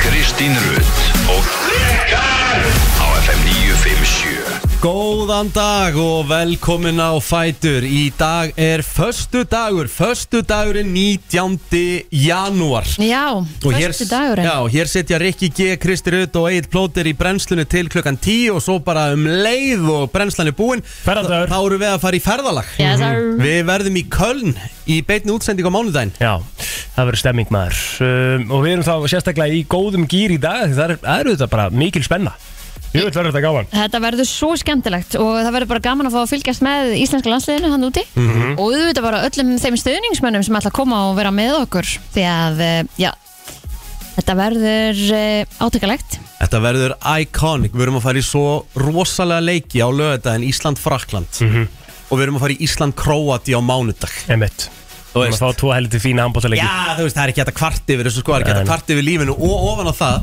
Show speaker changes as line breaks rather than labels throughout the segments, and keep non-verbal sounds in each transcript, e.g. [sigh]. Kristín Rutt og Rikar á FM 957
Góðan dag og velkomin á Fætur Í dag er föstu dagur, föstu dagurinn 19. janúar
Já,
Og hér,
fyrstu dagurinn
já, hér setja Rikki G, Kristi Rutt og Egil Plóter í brennslunni til klukkan 10 og svo bara um leið og brennslan er búin
Ferðadagur.
Þá erum við að fara í ferðalag
Yes, sir.
Við verðum í Köln í beinni útsending á mánudaginn
Já, það verður stemming maður um, og við erum þá sérstaklega í góðum gýr í dag því það er, það er auðvitað bara mikil spenna Ég veit verður þetta gáðan
Þetta verður svo skemmtilegt og það verður bara gaman að fá að fylgjast með íslenska landsliðinu hann úti og auðvitað bara öllum þeim stöðningsmönnum sem ætla að koma og vera með okkur því að, eh, já, þetta verður eh, átökulegt
Þetta verður iconic, við erum að fara í svo rosalega leiki á lögadaginn Ísland-Frakland Og við erum að fara í Ísland-Króati á mánudag
Emitt,
Þú
við erum að fá tvo heldur fína handbóttaleiki
Já, þú veist, það er ekki hægt að kvart yfir þessu sko, það er ekki hægt að
Nei.
kvart yfir lífinu og ofan á það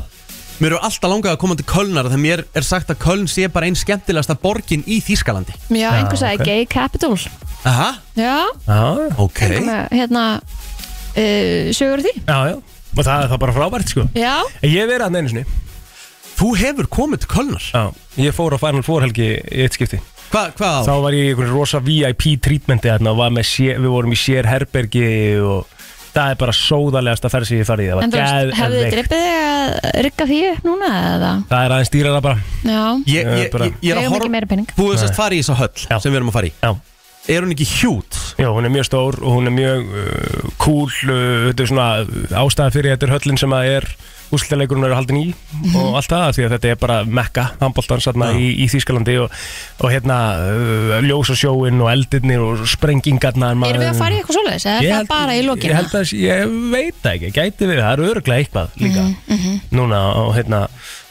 Mér eru alltaf langað að koma til Kölnar þegar mér er sagt að Köln sé bara einn skemmtilegasta borgin í Þýskalandi
Já,
Já,
einhvers að
ok.
gay capital
Aha,
Já,
Já,
ok
með, hérna uh, sögur af því
já, já og það er það bara frábært sko
Já,
En Ég hef verið hann einu sinni
Þú hefur komið til Kölnar
Já, ég fór á Final Four helgi í eitt skipti
Hva, Hvað
Þá
á?
var ég í einhvern rosa VIP treatmenti þarna og var með sér, við vorum í sér herbergi og það er bara sóðalegasta ferð sem ég hef farið í.
en þú
Það var
veist, hefðu þið
geðveikt.
drippið þig að rykka því upp núna eða?
Það er aðeins dýrara bara
Já,
Ég, ég,
bara-
ég, ég er
Við
að
eigum ekki meira pening.
Þú hefur sérst farið í þessa höll
Já.
sem við erum að fara í
Já,
Er hún ekki hjút?
Já, hún er mjög stór og hún er mjög uh, cool, uh, þetta er svona uh, ástæða fyrir þetta er höllin sem að er úrslitaleikurinn er haldin í
Mhm.
og allt það því að þetta er bara mekka handbóltan
Já.
í, í Þýskalandi og, og hérna uh, ljósasjóin og eldirnir og sprengingarnar
erum við að fara í eitthvað svoleiðis eða er það bara í
Ég,
lokinu?
held að, ég veit það ekki, gæti við, það er öruglega eitthvað
Mhm,
líka Núna og hérna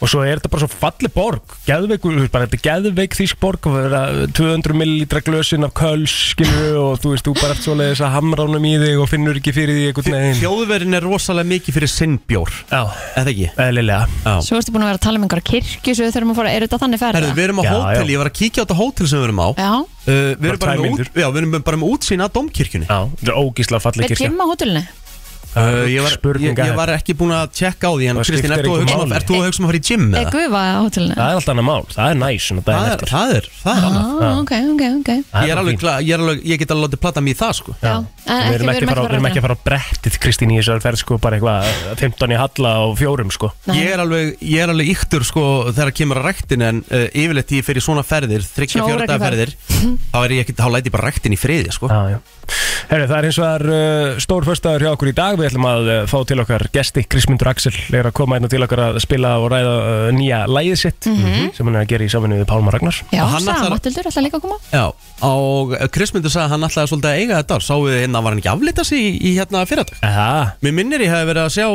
Og svo er þetta bara svo falli borg Geðveik, þú veist, bara þetta er geðveik þýsk borg og vera 200 millilitra glösin af köls skilur og þú veist, þú bara ert svoleiðis að hamra honum í þig og finnur ekki fyrir því einhvern veginn
Þjóðverin er rosalega mikið fyrir sinnbjór
Já,
Eða ekki?
eðlilega
Já
Svo ertu búin að vera að tala um einhverja kirkju svo við þurfum að fara, er þetta þannig ferða?
Herðu, við erum á
Já,
hótel,
já.
ég var að kíkja á þetta hótel sem við erum á uh,
Já,
Við erum
Bara
bara
tvær
með
mínútur.
út- já, við erum bara með útsýna að domkirkjunni
Já, þetta er ógísla falli
við
kirkja
gym á hótelinu
Uh, ég, var, ég,
Spurninga
ég var ekki búin að tjekka á því en
Það
Kristín,
skiptir
ert þú að
engu
hugsa um að-
máli.
ert þú að hugsa um að fara í gym
Eða
eða?
gufa á hótelinu
Það er alltaf annað mál, það er næs svona daginn
Það er,
eftir
það er, það er annað
ah, Ok, ok, ok
Ég
Það
er
bara
alveg,
fínt.
kla, ég, er alveg, ég get alveg látið platta mig í það sko
Já, en
Við erum
ekki-
ekki, fara, við erum ekki að fara á brettið Kristín í þessar ferð sko bara eitthvað 15 í halla og fjórum sko
Nei.
Ég er alveg, ég er alveg yktur sko þegar kemur að rektin en uh, yfirleitt því ég fer í svona ferðir þryggja
Svona
fjörða ferðir
óregluferð.
þá er ég ekki, þá læti ég bara rektin í friði sko
Já, já. Herru, það er eins og það er uh, stór föstaður hjá okkur í dag. Við ætlum að uh, fá til okkar gesti. Krismundur Axel er að koma einna til okkar að spila og ræða uh, nýja lægið sitt Mhm. sem hann er að gera í samvinni við Pálmar Ragnars.
Já,
Hann
Sara
ætlar-
Matildur ætla líka að koma
Já, og uh, Krismundur sagði að hann ætlaði svolítið að eiga þetta ár Sáu þið hérna, var hann ekki aflita sig í, í hérna fyrradag?
Aha,
Mér minnir ég hef verið að sjá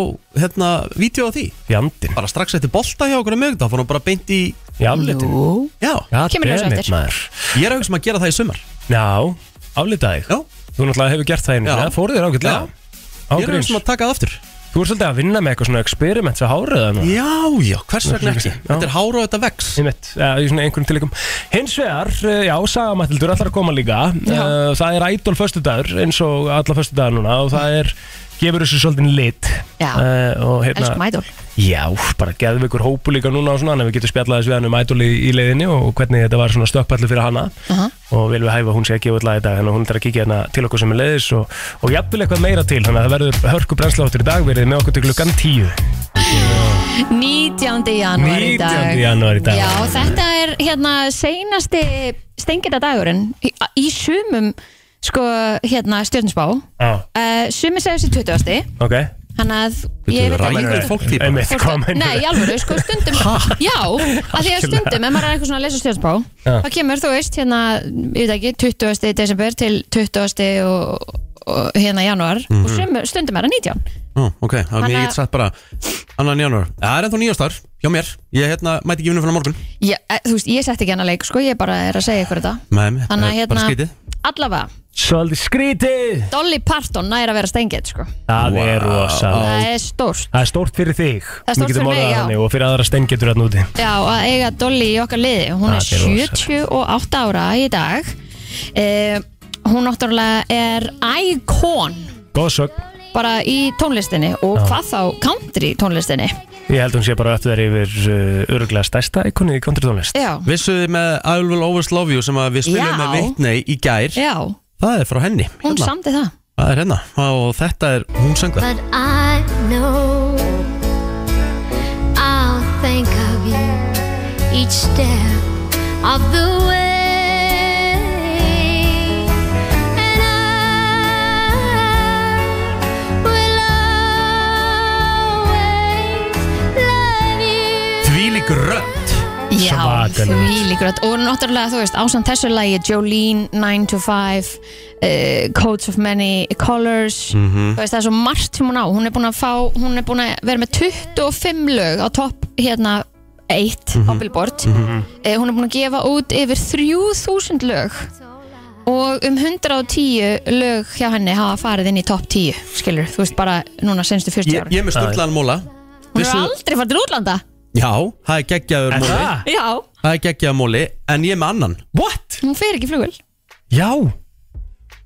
hérna, vídeo á því
fjandinn.
Bara strax eftir bolta hjá okkur um mögda, fór hann bara beint í,
Í aflitin.
Jú.
já
Já,
Kemur þessu
dammit,
eftir.
maður.
Ég er að hugsa um að gera það í sumar
Já, aflitaði.
Já,
Þú náttúrulega hefur gert það einu.
Já.
Já, fóruð þér ágætlega.
Já. ég er að
Ágríns.
hugsa um að taka það aftur
Þú ert svolítið að vinna með eitthvað svona experiment sem hárið það.
Já, já, hvers vegna ekki?
Já.
Þetta er hára og þetta vex
Einmitt, uh, í svona einhverjum tilíkum Hins vegar, uh, já, Sagamattildur ætlar að koma líka
Já.
uh, Það er ædol föstudagur eins og alla föstudagar núna og það er, gefur þessu svolítið lit
Já.
uh, og hérna
Elskum ædol
Já, bara geðum við ykkur hópu líka núna og svona en við getum spjallað þessu við hann um ædoli í leiðinni og hvernig þetta var svona stökkpallu fyrir hana
Aha.
og viljum við hæfa að hún sé að gefa allega í dag þannig að hún er að kíkja hérna til okkur sem er leiðis og, og jafnvel eitthvað meira til þannig að það verður hörku brennsláttur í dag verið með okkur til klukkan 10
19. janúar í dag
19. janúar í dag.
Já, þetta er hérna seinasti stengita dagurinn í, í sumum sko hérna stjórnusbá uh,
Já,
Sumir segja þessi 20.
ok
Þannig að ég
Þú
veit ekki
ræður
hvort-
fólk típa
Einmitt,
Fólk-
hvað meinarðu?
Nei, í alvöru, sko, stundum Já, af því að stundum, ef maður er eitthvað svona að lesa stjórnspá
Já.
þá kemur, þú veist, hérna ég veit ekki, 20. desember til 20. og, og hérna januar og
Mhm.
sumur, stundum er það 19
Ó, Hm, ok, það er
Þannig
mér ég
að-
get sagt bara annan janúar, það er ennþá nýjastar hjá mér, ég hérna, mæti ekki vinnu fyrir morgun
ég, e, Þú veist, ég sett ekki hana leik, sko, ég bara er að segja ykkur þetta
Nei, þetta
Þannig að
Eh,
er bara
hérna,
skrítið
allavega
Svolítið skrítið
Dolly Parton nær að vera stengið, sko
Það er
Vá.
rosalega
Það er stórt
Það er stórt fyrir þig
er stórt
Við getum
fyrir mig,
orðað
já.
þannig, Og fyrir aðra steingetur hérna úti
Já, að eiga Dolly í okkar liði Hún
Ah,
er
þetta er rosalegt.
78 ára í dag eh, Hún náttúrulega er íkón
Góðsögn
bara í tónlistinni og hvað þá country tónlistinni
Ég held hún sé bara öttu þær yfir uh, öruglega stærsta ikonið í kontritónlist
Já,
Vissuð þið með I Will Always Love You sem að við spilum
Já.
með Whitney í gær
já,
Það er frá henni Hérna.
hún samdi það
Það er hérna og þetta er, hún söng það
But I know I'll think of you each step of the way. And I will always love you.
Þvílík rödd
Já,
Svakalega.
því líkuröld og náttúrulega þú veist ásand þessu lagi Jolene, 9 to 5 uh, Coats of Many Colors þú veist það er svo margt sem hún á hún er búin að fá, hún er búin að vera með 25 lög á topp hérna 1 á Billboard Eh, hún er búin að gefa út yfir 3000 lög og um 110 lög hjá henni hafa farið inn í topp 10 skilur, þú veist bara núna senstu 40
Ég,
ára
ég er með sturlaðan móla
hún er
Vissuð-
aldrei farið til útlanda
Já, það er geggjaður móli
já,
Það er geggjaður móli En ég er með annan
What?
hún fer ekki í flugul
Já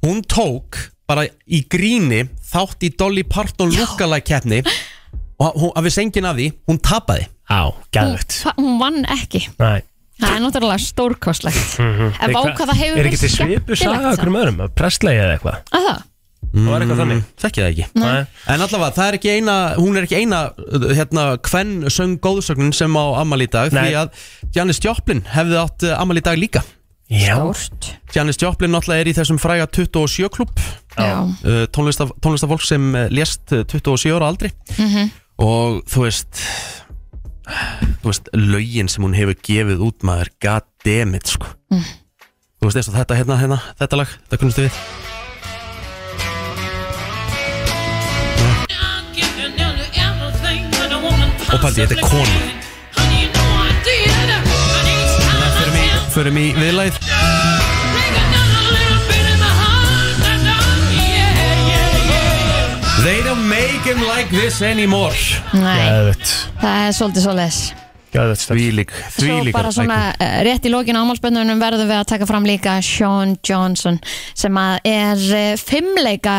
Hún tók bara í gríni þátt í Dolly Parton lookalike keppni og hún, að við sengin að því, hún tapaði
Á, gæðvögt
Hún- hún vann ekki
Nei
það er náttúrulega stórkostlegt en
Mhm, Er
vá
hva-
hvað það hefur
Er ekki til
verið
svipu saga
skemmtilegt
okkur um öðrum? Prestlegi eða eitthvað?
Að það?
Það var eitthvað þannig
Þekki Mm, það ekki
Nei.
En allavega, það er ekki eina, hún er ekki eina uh, hérna, hvern söng góðsögnin sem á ammali í dag,
Nei.
því að Janis Joplin hefði átt ammali í dag líka
Já
Bórst
Janis Joplin náttúrulega er í þessum fræga 27 klubb
Já.
uh, tónlistaf, tónlistafólk sem uh, lést uh, 27 ára aldri
Mhm.
og þú veist þú veist, lögin sem hún hefur gefið út maður, god damn it sko.
Mm.
þú veist eins og þetta hérna, hérna þetta lag, þetta kunnustu við
Og pældi, þetta er kona
förum í, förum í viðlæð They don't make him like this anymore
Nei,
Gæðvögt
það er svolítið svolítið
Gæðvögt stöld
Þvílík,
Svo
þvílík
bara svona eh, rétt í lokin á ámálspöndunum verðum við að taka fram líka Sean Johnson sem að er eh, fimmleika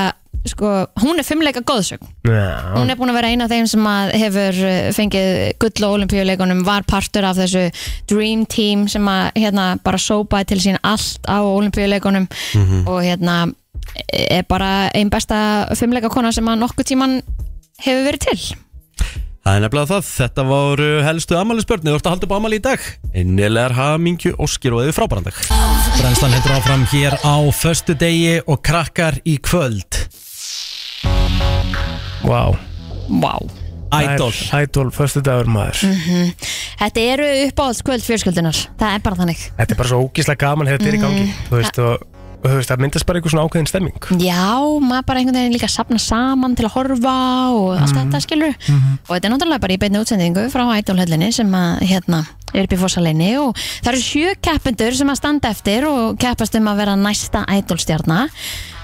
sko, hún er fimmleika góðsögn
Já
hún er búin að vera eina af þeim sem að hefur eh, fengið gull og olimpíuleikunum var partur af þessu Dream Team sem að hérna bara sópaði til sín allt á olimpíuleikunum og hérna er bara einn besta fimmleika kona sem að nokkuð tíman hefur verið til
Það er nefnilega það, þetta voru helstu amalisbörni, þú ert að halda upp amali í dag Innilegar hamingju, óskir og eða frábærandag Brænslan hendur áfram hér á föstu degi og krakkar í kvöld
Vá
Vá
Idol
Ædol, förstu dagur maður
Mm. Þetta eru uppáhaldskvöld fjölskyldunar Það er bara þannig
Þetta er bara svo ógíslega gaman þegar þetta er í gangi
Mm.
Þú veist, og, og þú veist, það myndast bara einhver svona ákveðin stemming
Já, maður bara einhvern veginn líka sapna saman til að horfa og allt
Mhm.
þetta skilur og þetta er náttúrulega bara í beinni útsendingu frá Idol-höllinni sem að hérna er upp í fósalinni og það eru sjö keppendur sem að standa eftir og keppast um að vera næsta Idol-stjarna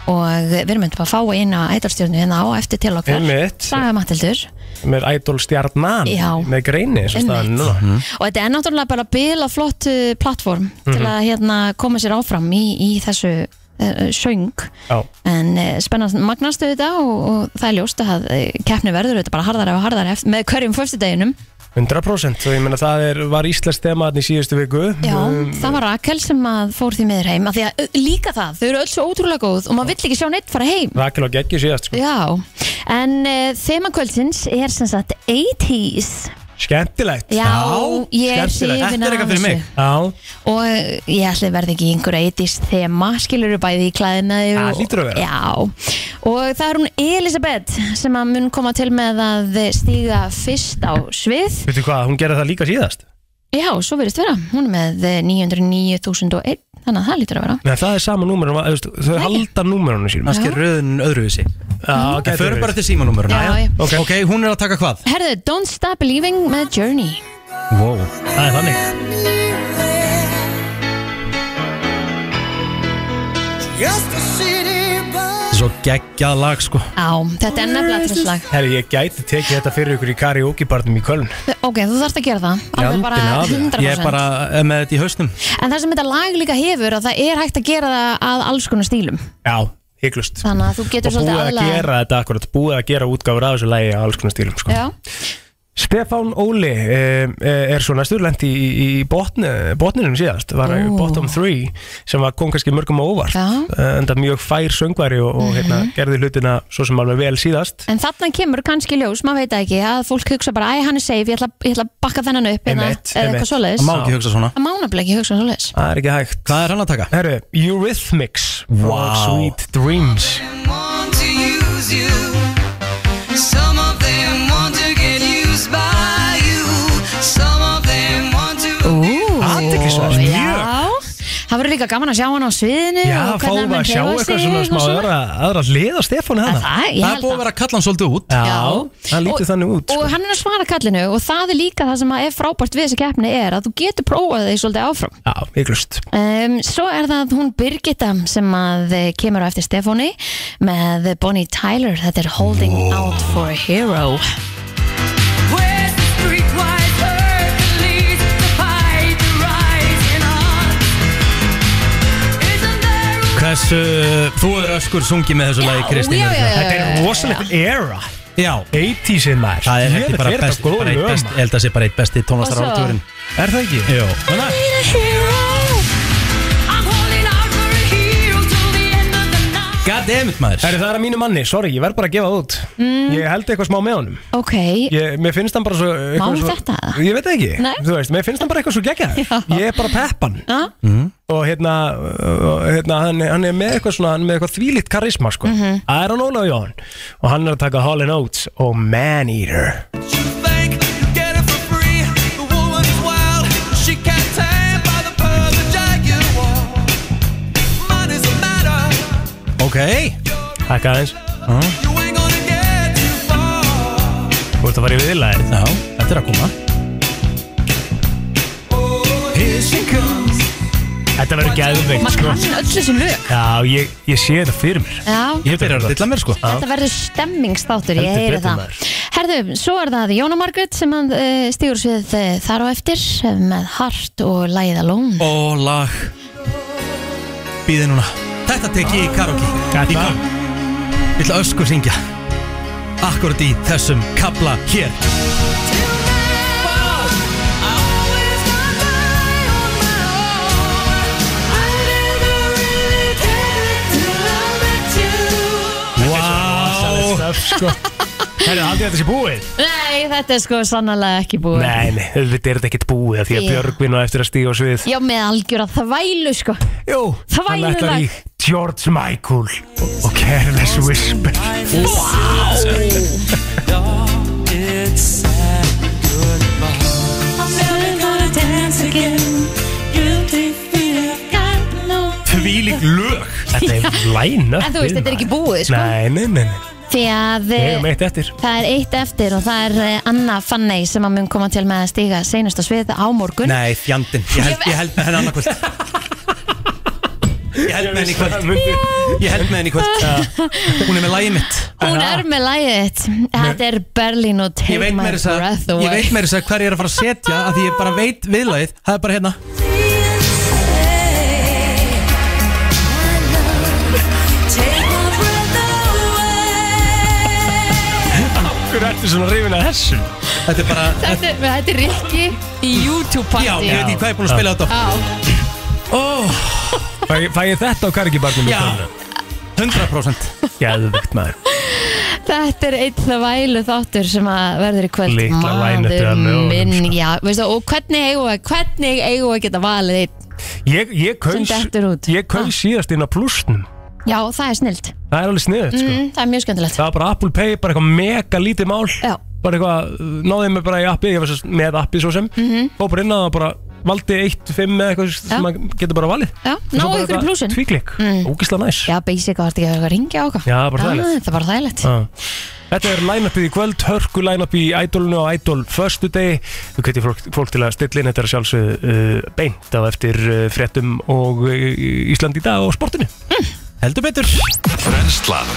og við erum myndum að fá inn á Idol-stjarnu hérna á eftir til okkar
Einmitt.
Saga Matildur
Með ædol stjarnan
Já.
Með greini, svo staðan
Einmitt.
núna
og þetta er náttúrulega bara bila flott uh, plattform til
Mhm.
að hérna, koma sér áfram í, í þessu uh, söng
Já,
en uh, spennast magnastu þetta og, og það er ljóst að uh, keppni verður þetta bara harðara og harðara eftir, með hverjum föstudeginum
100% og ég meina það er, var Íslands þemaðan í síðustu viku
Já,
Um,
það var Rakel sem að fór því miður heim af því að uh, líka það, þau eru öll svo ótrúlega góð og maður vill ekki sjá neitt fara heim
Rakel og Geggi síðast sko.
Já, en uh, þema kvöldsins er sem sagt 80s
Skemmtilegt
Já, ég er hrifin
skemmtilegt.
Þetta er eitthvað fyrir mig.
Já,
og eh, ég ætli verði ekki í einhver 80s þema, skilur þú bæði í klæðina þig
Ah,
og-
hlýtur að vera.
Já, og það er hún Elisabeth sem að mun koma til með að stíga fyrst á svið
veitu hvað, hún gerði það líka síðast
Já, svo verðist vera, hún er með eh, 909.001 þannig að það lítur að vera
Nei, það er sama númer, hún var- þú veist, þau halda númerunum sínum
Kannski röðin öðruvísi
Já,
En
gæti
förum
verið.
bara til símanúmeruna
Já, já.
ok, ok, hún er að taka hvað?
Herðu, Don't Stop Believing með Journey
Wow
Það er þannig
Svo geggjað lag sko
Já, þetta er nefnilega til slag
Herri, ég gæti tekið þetta fyrir ykkur í karaokebarnum í Köln
Ok, þú þarft að gera það, alveg
Jandinn
bara
afi.
100%
Ég er bara eh, með þetta í hausnum
En það sem þetta lag líka hefur að það er hægt að gera það að alls konar stílum
Já, hygglust
Þannig að þú getur
Og
svolítið
búið að
aðlaga-
gera þetta akkurat, búið að gera útgáfur af þessu lægi á alls konar stílum sko.
Já,
Stefán Óli eh, eh, er svo næstur lent í, í botni, botninum síðast, var
Ó.
bottom three sem var, kom kannski mörgum á óvart
Já. Mhm.
Eh, enda mjög fær söngvari og, og hérna, gerði hlutina svo sem alveg vel síðast
En þarna kemur kannski ljós, maður veit það ekki að fólk hugsa bara, æ, hann er safe, ég ætla, ég ætla að bakka þennan upp hérna," eða
Einmitt, einmitt.
eitthvað svoleiðis
Má ekki hugsa svona
Það má nefnilega ekki hugsa svoleiðis
Það er ekki hægt
Hvað er hann að taka?
Herru, Eurythmics
Vá.
og Sweet Dreams
want to use you. Some of them want to get used by you. Some of them want to.
Athyglisvert, mjög.
Já, það verður líka gaman að sjá hann á sviðinu
Já,
og hvernig
fáum
hann
við
mun
að sjá
hreyfa
eitthvað
sig
svona
og
smá hérna.
svona.
aðra, aðra hlið á Stefánu
Það,
hana
það, ég
Það er
held
búið að vera að kalla hann svolítið út
það lítið
Og-
þannig út sko.
Og hann er að svara kallinu og það er líka það sem að er frábært við þessa keppni er að þú getur prófað þig svolítið áfram
Já, viklust
Um, svo er það hún Birgitta sem að eh, kemur á eftir Stefáni með Bonnie Tyler, þetta er Holding Out for a Hero
Where's the streetwise Hercules, the fight, the rising on? Isn't there a
Hversu, þú er öskur sungið með þessu lagi Kristín
já, já, já,
Þetta er rosalegt era
já
80s-in Eh. maður
Það er held ég
Djöfull
bara
þetta
best,
góð
bara eitt
lög,
best,
maður.
ég held að sé bara eitt besti tónlastar
Og svo-
áratugurinn
Er það ekki?
Jú, þannig að-
I'm holding out for a hero till the end of the night.
Goddammit
Það er
maður
það er að mínu manni, sorry, ég verð bara að gefa það út Ég held eitthvað smá með honum
Ok,
ég, Mér finnst hann bara svo eitthvað
Mm. Má
svo,
þetta?
Ég veit það ekki,
Nei.
þú veist, mér finnst hann bara eitthvað svo geggjað
Já. Ah.
Ég er bara peppan
Já.
Og hérna, uh, hérna hann, er- hann er með eitthvað svona, hann er með eitthvað þvílíkt karisma sko. mm
Mhm.
-hmm. Aron Ólaf Jóhann Og hann er að taka Hall Oates og Man Eater
You think you get it for free? The woman is wild. She can't tame by the pearls of jaguar. Money's a matter.
Ok
Hækka aðeins,
You ain't gonna get too
þú
far.
ert að fara í viðlæðið
Já, þetta er að koma
Þetta verður geðveikt
maður
sko.
kann öll þessum lög
Já, ég, ég sé þetta fyrir mér
Já,
Ég
Byrjar að dilla mér sko
Þetta verður stemmingstáttur, ég
Heldur
heyri
betur,
það
maður.
Herðu, svo er það Jóna Margrét sem hann uh, stígur svið uh, þar á eftir eh, með Hart og Læða Lón
Og lag Býði núna Þetta tek ég í karaoke
Þetta?
Í kom Ég ætla að öskur syngja Akkurat í þessum kabla hér
Rosalegt stöf, sko. Herru, haldið þetta sé búið?
Nei, þetta er sko sannlega ekki búið
Nei, nei, auðvitað er þetta ekkert búið af Því að
Já.
Björgvin á eftir að stíga á svið
Já, með algjör að þvælu sko
Jú, hann
Þvælulag.
ætlar í George Michael og Careless Whisper
Tvílík lög
Þetta
[laughs]
er læna
En þú veist, þetta er ekki búið sko
Nei, nei, nei, nei,
Því að
við
eh,
hefum eitt eftir
Það er eitt eftir og það er eh, Anna Fanney sem að mun koma til með að stíga seinast á svið á morgun
Nei, fjandinn Ég held, ég held með henni annarkvöld Ég held með henni í kvöld Ég held með henni í kvöld Hún er með lagið mitt
Hún er með lagið þitt. Þetta er Berlin og
Ég
Take
veit
My
með þess
Breath
að Ég
Away
veit með þess að hver ég er að fara að setja af Því ég bara veit viðlagið Það er bara hérna
Akkur ertu svona rifin að þessu
Þetta er bara
[laughs] Þetta er- þetta er Rikki í YouTube
Já,
party
ég veit ekki hvað ég er búin að spila þetta
Já.
Ó,
Fæ, fæ ég þetta á kargibarnum
Já. 100%
Gæðvegt maður
Þetta er eitt þvælu þáttur sem að verður í kvöld
Litla line-upið
Maður
að lögunum,
minn,
sko.
já, veistu, og hvernig eigum við hvernig eigum við að geta valið eitt
Ég, ég kaus,
Sem dettur út. Ah.
ég kaus síðast inn á plusnum
Já, það er snilt,
Það er alveg sniðið, sko
mm, það er mjög skemmtilegt
Það var bara Apple Pay, bara eitthvað mega lítið mál
Já.
Bara eitthvað, uh, náði mig bara í appið Ég var svo, með appið svo sem mm -hmm. Og bara inn að það bara valdi 1, 5 eða eitthvað
Mhm. Já.
sem maður getur bara valið
Já, ná ykkur í plusin
Tvíklik, mm. ógislega næs
Já, basic og það er ekki að vera að ringja á okkar
Já, bara þægilegt.
Það er bara þægilegt
Já. Ah. Þetta er line-upið í kvöld, hörku line-upið í Idolinu og Idol förstu degi. Þú kveitir fólk, fólk til að stilla inn, þetta er sjálfsög uh, beint á eftir uh, fréttum og uh, Ísland í dag og sportinu.
Heldur betur
Brennslan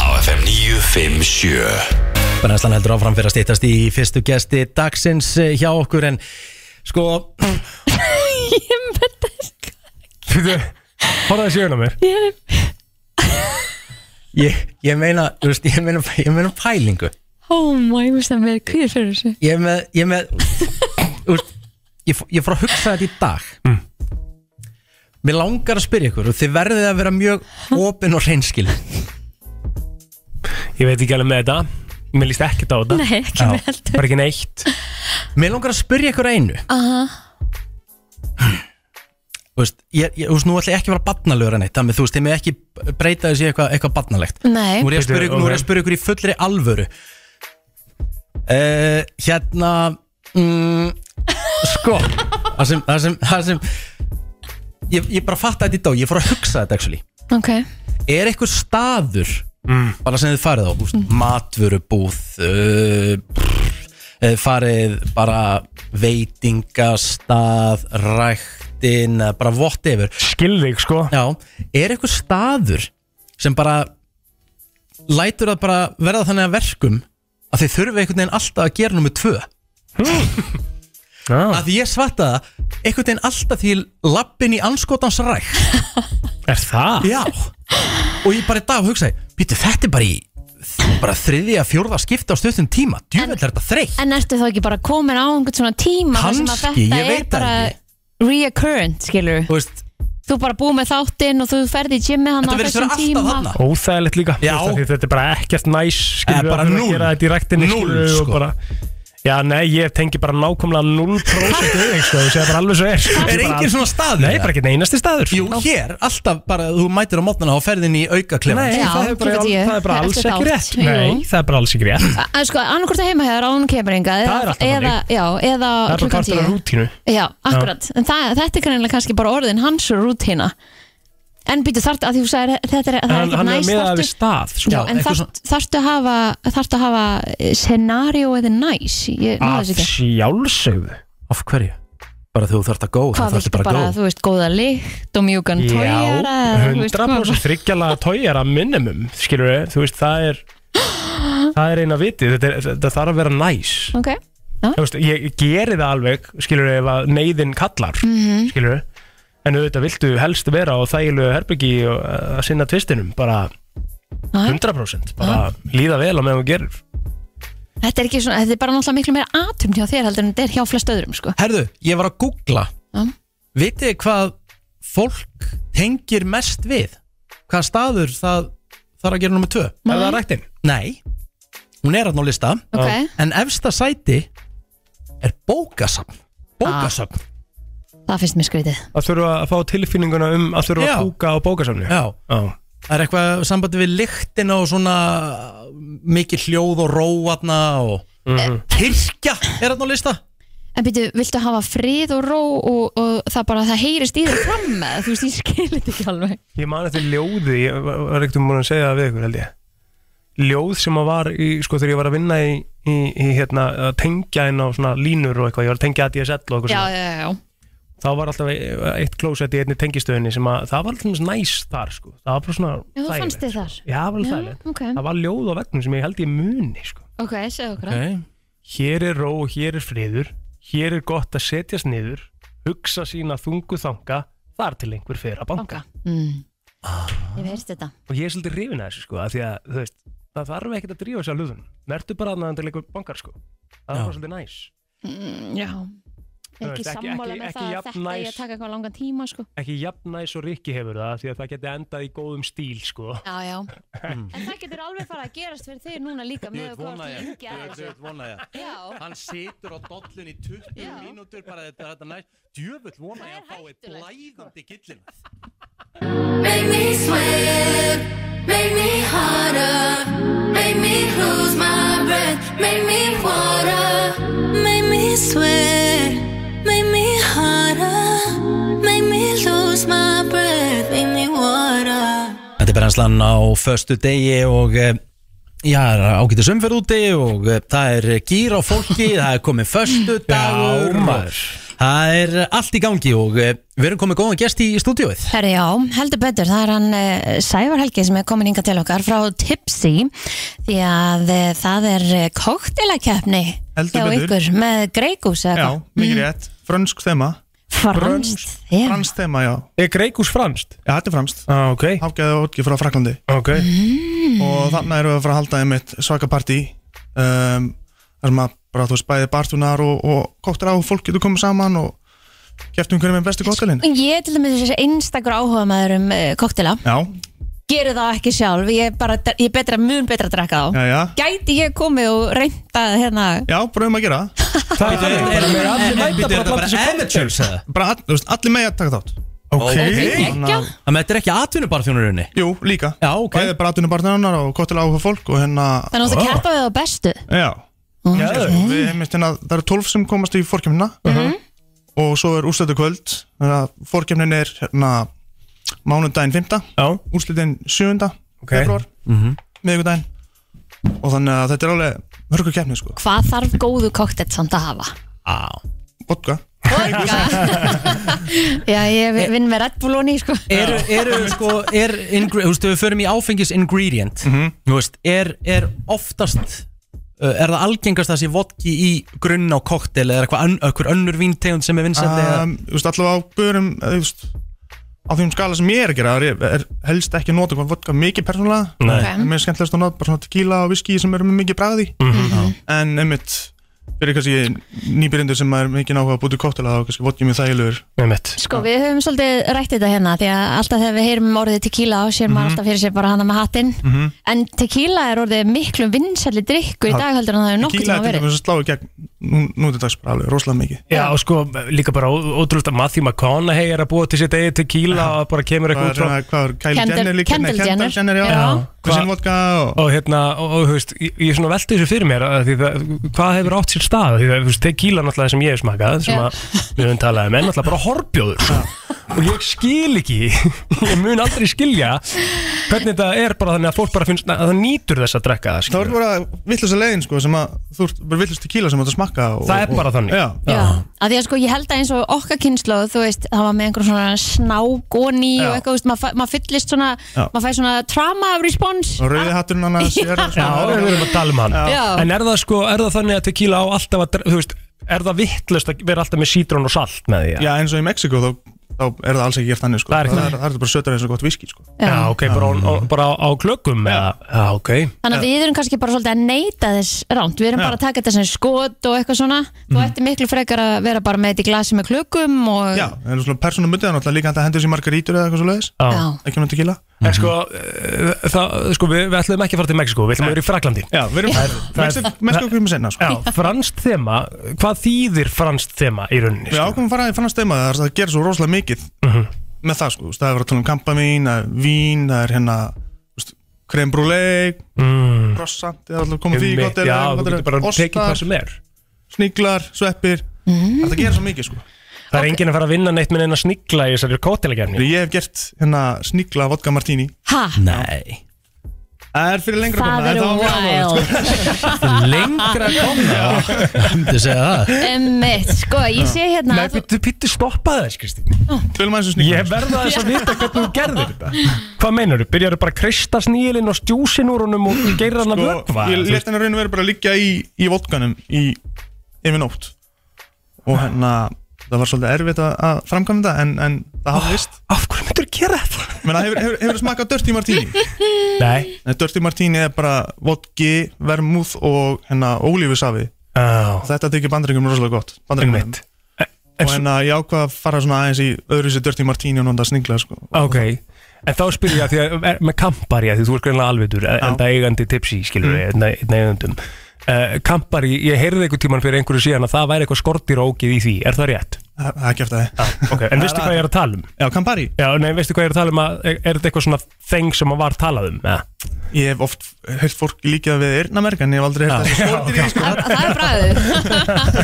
Á FM 957
Brennslan heldur áfram fyrir að stýttast í fyrstu gesti dagsins eh, hjá okkur en sko,
Fyrir, horfðu þessi auðvitað mér.
ég, ég meina, þú veist, ég meina, ég meina pælingu
Oh my, ég veist að mér er kvíðir fyrir þessu
Ég er með, ég er með úst, ég, f- ég fór að hugsa þetta í dag Mér langar að spyrja ykkur og þið verðið að vera mjög opin og reynskil
Ég veit ekki alveg með þetta, mér líst ekkert á þetta
Nei, ekki með heldur
Bara ekki neitt
Mér langar að spyrja ykkur að einu
Aha.
Þú veist, ég, ég, þú veist, nú ætla ég ekki að vera barnalegur en eitt Þannig, þú veist, þið með ekki breyta þessi eitthvað eitthvað barnalegt
[laughs] Nei,
Nú er ég að spyrja ykkur, nú er ég að spyrja ykkur í fullri alvöru uh, Hérna mm, Sko Það sem, það sem, það sem Ég, ég bara fatta þetta í dag, ég fór að hugsa þetta actually
ok
Er eitthvað staður bara sem þið farið á, þú veist, matvörubúð uh, uh, farið bara veitingastað ræktin, eða bara whatever
Skil þig sko
Já, er eitthvað staður sem bara lætur að bara verða þannig að verkum að þið þurfi einhvern veginn alltaf að gera nummið tvö
Já. Ah.
að því ég svatta það einhvern veginn alltaf því lappin í anskotans ræk
Er það?
Já Og ég bara í dag hugsaði Býtu þetta er bara í bara þriðja, fjórða skipta á stöðum tíma djúvel er þetta þreytt
En ertu þá ekki bara komin á einhvern svona tíma þar sem að
Kannski, ég
þetta er
veit það
bara
ekki.
reoccurrent, skilur
Þú veist,
Þú bara búið með þáttinn og þú ferði í gymmi hann á
þetta verður
þessum
alltaf
tíma
þarna
Óþægilegt líka
Já.
Þú veist, af því Þetta er bara ekkert næs skilur
Eh,
við,
bara
að þurfa
núll.
að gera þetta í ræktinni
Núll,
skilur við, og
sko.
bara, Já, nei, ég tengi bara nákvæmlega 0% við þig, sko, þú segir bara alveg svo er sko.
Er
Bara-
engin svona staður?
Nei, bara ekki einasti staður
Jú, hér, alltaf bara þú mætir á mótnana og ferðin í aukaklefa
Nei,
Já,
það er bara,
klukkan tíu.
það er bara alls
Eftir
ekki
þátt.
rétt
Jú.
Nei, það er bara alls ekki rétt
En sko, annarkvort að heima hefur án kemur enga
Það er alltaf
eða, já, eða
Það er bara
klukkan
partur af
tíu
rútínu
Já, akkurat, en það, þetta er kannilega kannski bara orðin hans rútína En býtu þart að því þú sagðir þetta er, það er
Hann,
ekkert
hann er
næst
meðað við
þarftu
stað sko.
Já, en
eitthvað
þarft, þarftu að hafa þarftu að hafa scenario eða næs ég náðu
Að
þessu ekki
sjálfsögðu
Af hverju? Bara þú þarft að go,
hvað
það
viltu
þarftu bara
bara,
að go
þú veist, góða lykt og mjúkan tójara
Já, 100% þryggjala tójar að minimum skilur við, þú veist, það er það er eina vitið, þetta, er, þetta þarf að vera næs
ok,
Þú veist, ég geri það alveg, skilur við, ef að neyðin kallar, mm skilur við en auðvitað viltu helst vera á þægilegu herbyggi og uh, að sinna tvistinum bara
Nei.
100% bara líða vel á meðan þú gerir
þetta er ekki svona þetta er bara náttúrulega miklu meira atum hjá þér heldur en þetta er hjá flest öðrum sko.
Herðu, ég var að googla
Já.
Vitið þið hvað fólk tengir mest við? Hvað staður það þarf að gera nummið tvö?
Er það rættin?
Nei, hún er að á lista
ok,
En efsta sæti er bókasafn
Ah.
Bókasafn,
það finnst mér skrítið
Að þurfa að fá tilfinninguna um að þurfa
Já.
að kúka á bókasamni
já Það er eitthvað sambandi við lyktina og svona mikið hljóð og róatna og
Mhm.
Eh, kirkja er þarna á lista
en býtu, viltu hafa frið og ró og, og það bara, það heyrist í þér fram með þú veist, ég skilir þetta ekki alveg
Ég man eftir ljóði, ég var var ekkert um búin að segja það við ykkur held ég Ljóð sem að var í, sko þegar ég var að vinna í, í, í hérna, að tengja inn á svona línur og eitthvað, ég var að tengja ADSL og eitthvað
já,
svona.
já, já,
Þá var alltaf e- eitt klósett í einni tengistöðinni sem að, það var alltaf næs þar sko, það var bara svona
já þú
þægilegt,
fannst þið
sko.
þar
Já, það var
Já,
alveg þægilegt
ok,
Það var ljóð á veggnum sem ég held ég muni sko
ok, segðu okkur okay.
okay.
Hér er ró og hér er friður, hér er gott að setjast niður, hugsa sína þungu þanga, þar til einhver fer að banka.
Banka. Mm.
Ah.
ég hef heyrst þetta
og ég er svolítið hrifin að þessu sko af því að þú veist, það þarf ekkert að drífa sér hlutun verður bara að næðan til einhver bankar sko það er
Já.
bara svolítið næs
Mm, Já Ég er
Þú
ekki
veist, ekki-
sammála
ekki-
með
ekki
það að
jafn
þetta ég
næs.
að taka eitthvað langan tíma sko.
ekki jafn næs og Rikki hefur það af því að það geti endað í góðum stíl sko
Já, já En það getur alveg farið að gerast fyrir þig núna líka með að komast lengi að þessu
vona ég
Já,
Hann situr á dollun í 20
Já.
mínútur bara þetta, þetta næst Djöfull vona
ég að Það er fái hættulegt.
blæðandi gillin
Make me sweat, make me harder, make me lose my breath, make me water, make me sweat, make me harder, make me lose my breath, make me water.
Þetta er brennslan á föstu degi og eh, já, það er ágætis umferð úti og eh, það er gýr á fólki,
[laughs]
það er komið föstu dagur
maður.
Það er allt í gangi og eh, við erum komið góðan gest í stúdíóið
Herri, já, heldur betur, það er hann uh, Sævar Helgi sem er komin inga til okkar frá Tipsy því að uh, það er koktilakeppni
Heldur
hjá
betur.
ykkur með Greikus eða
Já, mikið rétt. Frönsk þema.
hvað? Franskt þema.
Franskt þema, já.
er Greikus franskt?
Já, þetta er franskt.
Ah, ok,
Háfgæði og hótki frá Fraklandi.
ok
Og þannig erum við að fara að halda einmitt svaka partí. um, þar sem að bara, þú veist, bæði bartunar og, og kóttar á fólk getur komið saman og kæft um hverju með bestu kóttalinn
Ég er til dæmis þessi einstakur áhuga maður um uh, koktela
Já,
Gerið það ekki sjálf, ég er bara ég er betra, mun betra að drekka þá
já, já,
Gæti ég komið og reynda hérna
já, bröðum að gera það.
[laughs] Það er þannig, bara með
Eh,
allir mæta bara að blanda sér koktel
amateurs eða?
bara, all, þú veist, allir með að taka þátt
Ok.
Þannig að-
Þannig að þetta er ekki atvinnubarþjónurunni
Jú, líka
Já, ok.
Bæði bartunar, bartunar og kóttal áhuga fólk og hérna
Þannig að þú
Ó.
keppa við á bestu
Já Við heimist hérna, það eru 12 sem komast í fórkjöfnina
Mhm.
og svo er úrslættu kvöld þannig að fórkjöfnin er hérna mánudaginn 5.
Já,
úrslitin 7.
Ok.
februar
Mhm.
miðvikudaginn og þannig að þetta er alveg hörku keppni sko
Hvað þarf góðu koktett samt að hafa?
vodka
Já, ég vi- vinn með Red Bull og ný sko
Eru, eru, sko, er, ingre- þú veist, ef við förum í áfengis ingredient,
Mhm.
þú veist, er, er oftast, uh, er það algengast að það sé vodki í grunn á koktel eða eitthvað önn, einhver önnur víntegund sem er vinsandi eða?
um, þú veist, allavega á börum eh, þú veist, á því um skala sem ég er að gera er, er helst ekki að nota hvað vodka mikið persónulega
Nei.
En mér er skemmtilegast að nota bara svona tequila og whisky sem eru með mikið bragði
Mhm.
en einmitt fyrir kannski nýbyrjendur sem er mikið náhuga að búti kóttela þá kannski vodkið mjög þægilegur
með mitt
Sko, við höfum svolítið rætt þetta hérna því að alltaf þegar við heyrum um orðið tequila og sér maður alltaf fyrir sér bara hana með hattinn en tequila er orðið miklu vinsæli drikkur í dag heldur en það er nokkuð
tequila
tíma
er til
verið
dæmis að slá í gegn nú, nú til dags bara alveg rosalega mikið
Já, og sko, líka bara ó- ótrúlegt að Matthew McConaughey er að búa til sitt eigið tequila og bara kemur eitthvað út
hvað er,
frá
hérna- hvað er Kylie
Kendall-
Jenner líka
Kendall
Nei,
Jenner.
Kendall Jenner, já,
Já.
og sinn vodka og
og hérna, og og, þú veist, ég, ég svona velti þessu fyrir mér að því það, hvað hefur átt sér stað því það, þú veist, tequila náttúrulega sem ég hef smakað sem
Já.
að við höfum talað um, en náttúrulega bara horfbjóður sko. og ég skil ekki [laughs] ég mun aldrei skilja hvernig þetta er bara þannig að fólk bara finnst að það nýtur þess að drekka það
það er
skilur.
bara vittlust að leiðin sko sem að þú ert bara vittlust tequila sem þú ert að smakka og,
Það er bara
og,
þannig.
já,
Já, að því að sko ég held að eins og okkar kynnslóð, þú veist, það var með einhver svona snák og ný og eitthvað, þú veist, maður fæ- maður fyllist svona,
Já.
maður fæði svona trauma response.
og rauði hatturinn hann að sér
Já, við erum að tala um hann
Já.
En er það sko, er það þannig að tequila á alltaf að, dre- þú veist, er það vittlust að vera alltaf með sítrón og salt með því? eða?
já eins og í Mexiko þá, þá er það alls ekki gert þannig sko
Það er ekki
það
þannig.
er, það er bara sötar eins og gott viski sko
Já, ok, bara, á, á- bara á, á klökum eða, já, ok
Þannig að við erum kannski bara svolítið að neyta þess ránt, við erum bara að taka þetta sem skot og eitthvað svona, þú ætti miklu frekar að vera bara með þetta í glasi með klukkum og...
Mhm. já, það er svona persónum myndið náttúrulega líka hægt að hendur sér margarítur eða eitthvað svo leiðis
Já.
Já.
ekki um með tequila
En sko, eh, það, sko við, við ætlum ekki að fara til Mexiko, við ætlum að vera í Fraklandi
já, við erum
það er-
Mexi- Mexiko kemur senna sko
Já, franskt þema, hvað þýðir franskt þema í rauninni? sko?
við ákveðum að fara í fann að stema það það gerir svo rosalega mikið
Mhm.
með það sko, þú veist, það er verið að tala um kampamín það er vín, það er hérna þú veist, creme brulee,
mm,
croissant það er alltaf komið því, gott er
Já, þú getur bara tekið hvað
ostar,
sem er
sniglar, sveppir það gerir svo mikið sko
Það er enginn að fara að vinna neitt með neina snigla í þessari kótelegjafni
ég hef gert hérna snigla vodka martini
Ha,
Nei.
það er fyrir lengra
það
komna, en
eru
það var gaman. sko.
wild.
Lengra
[laughs]
komna. Þú segja það.
Emmitt, sko, ég sé hérna
Nei,
að þú...
pittu, pittu stoppaði þess, Kristín
Tölum aðeins um snigla
Ég verða þess að vita hvernig þú gerðir þetta Hvað meinar þú? Byrjarðu bara að kreista snílinn og stjúsin úr honum og gerir hann að vökva?
Sko, ég let henni raun og veru bara liggja í, í vodkanum í yfir nótt og hérna það var svolítið erfitt að- að framkvæmda þetta, en, en það hafði vist
Af hverju myndur þú gera þetta?
Menna, hefur, hefur, hefur smakað Dirty Martini?
Nei
Nei, Dirty Martini er bara vodki, vermúð og hérna ólífusafi
Já,
Þetta tekir bandaringum rosalega gott Bandaringum
einmitt
Og hérna ég ákvað að fara svona aðeins í öðru sér Dirty Martini og nonda snigla sko.
Ok, en þá spyr ég að því að er- með kampari, að því þú er greinlega alvegdur en það eigandi tipsi, skilur við, mm. einn eigandum uh, Kampari, ég heyrði einhver tíman fyrir einhverju síðan að það væri eitthvað skortirókið í því, er það rétt?
Það það er ekki eftir það
Ok, [laughs] en veistu hvað ég er að tala um?
Já, Campari
Já, nei, veistu hvað ég er að tala um að, er, er þetta eitthvað svona þeng sem að var talað um? Ja.
Ég hef oft heyrt fólk líka við Eirnamerk En ég hef aldrei heyrt þessi skortir í sko.
Það það er bræðið.
[laughs]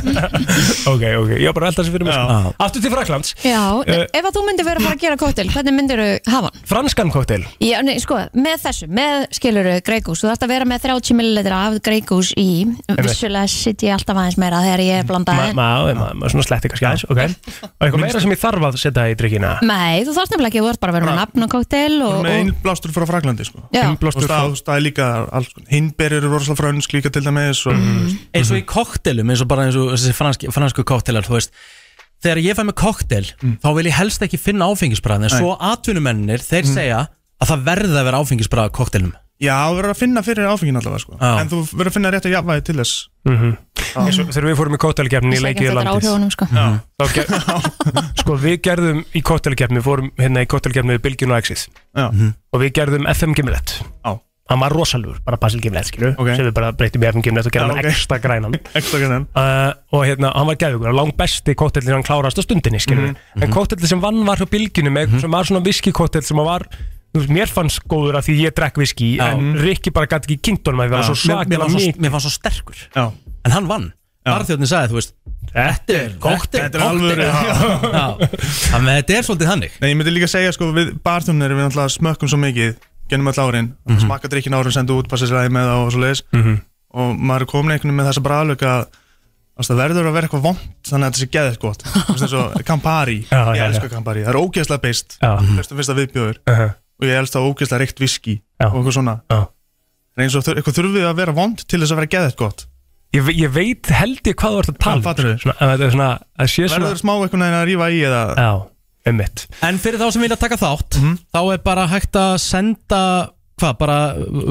Ok, ok, ég var bara alltaf sem fyrir mig
Já.
sko. Aftur til Fraklands,
Já, e-
Eh.
ef að þú myndir vera að fara að gera kóttil, hvernig myndir þú hafa hann?
franskan koktel
Já, nei, sko, með þessu, með skiluru greikús, þú þarfst að vera með 30 ml af greikús í, vissulega sitt ég alltaf aðeins meira þegar ég er blandað
Maður
en-
ma, ma, ma, svona sletti kannski aðeins, ok Og eitthvað meira sem ég þarf að setja í drikkina
Nei, þú þarfst nefnilega ekki, þú þarfst bara að vera með nafn og kóktel og,
Með einn
og
blástur frá Fraklandi sko.
Já. Einn
Og það, það er líka Hinnber eru rosalega frönsk líka til dæmis og,
Eins og í koktelum, eins og bara eins og þessi franski, fransku koktelar, þú veist, þegar ég fæ með koktel,
Mm.
þá vil ég
Mm.
helst ekki finna áfengisbræðin, en svo atvinnumennir, þeir segja að það verði að vera áfengisbræða koktelum.
Já, þú verður að finna fyrir áfengin allavega sko.
Já.
En þú verður að finna rétt að jafnvægi til þess
eins og þegar við fórum í kóttelkeppni í leikið í landið
áhrifunum sko Já,
þá ger, sko við gerðum í kóttelkeppni, við fórum hérna í kóttelkeppni við Bilgjun og Exit
Já.
og við gerðum FM Gimlet
Já.
hann var rosalur, bara Basil Gimlet skilur
Ok.
sem við bara breytum í FM Gimlet og gerðum
Já,
Já,
ok.
ekstra grænan
Ekstra grann
uh, og hérna, hann var gæðugur, lang besti kóttelli hann klárast á stundinni, skilur en kóttelli sem vann var hjá Bilgjunum með, sem var svona viskikóttell sem var þú veist, mér fannst góður af því ég drekk viski en Rikki bara gæti ekki kynntunum að því það var
mér,
svo
mér,
svaklega
var svo,
mikið
mér var svo sterkur
Já,
En hann vann Barþjóðin sagði, þú veist
Þetta er
Koktel,
þetta er alvöru [laughs] Já.
Þannig að þetta er svolítið þannig
Nei, ég myndi líka segja sko Við barþjónir við náttúrulega smökkum svo mikið Genum öll árin mm
Mhm.
-hmm. Smakka drikkin árin, sendu út, passa sér aðeins með það og svo Og maður er komin einhvern veginn með þessa bræðlög að þú veist, Það verður að vera eitthvað vond Þannig að þetta sé geðið
[laughs]
gott Þú veist, eins og Campari,
Já,
ég
já, já.
elska Campari Það er ógeðslega beist,
Já.
fyrst og fyrsta viðbjóður
Uh-huh.
Og ég elska ógeðslega reykt viski
Já.
Og eitthvað svona
Já.
En eins og þur- eitthvað þurfið að vera vond til þess að vera geðið gott
Ég, ve- ég veit held ég hvað þú ert að tala um.
Já, fattarðu.
Svona, að þetta er svona, að sé svona
Verður smá eitthvað neginn að rífa í eða
Já, einmitt
En fyrir þá sem vilja taka þátt Þá er bara hægt að senda Hvað, bara,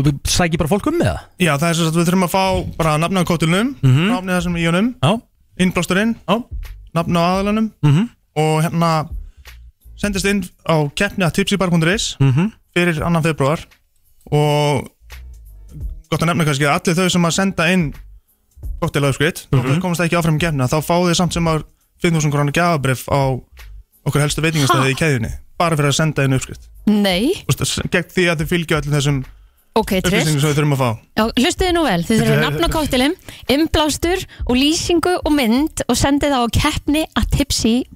við sæki bara fólk um með það
Já, það er svo að við þurfum að fá bara nafna á kótilnum, mm -hmm. nafnið þessum í honum,
Mhm. Já,
innblásturinn,
já, Mhm.
nafna á aðalanum -hmm. og hérna sendist inn á keppni að tipsybar.is -hmm.
Mhm.
fyrir annan februar og gott að nefna kannski að allir þau sem að senda inn
Mhm.
kótilauðskritt mm -hmm. og þau komast ekki áfram í keppna, þá fá þið samt sem að 5.000 krónu gjafabrif á okkur helstu veitingastæði í keðjunni bara fyrir að senda inn uppskritt
Nei,
Þú veist, gegn því að þið fylgja öllum þessum
ok,
upplýsingum
trist
sem við þurfum að fá
Já, Hlustiði nú vel, þið þurfum nafn á kóttilum Inblástur og lýsingu og mynd Og sendið það á keppni að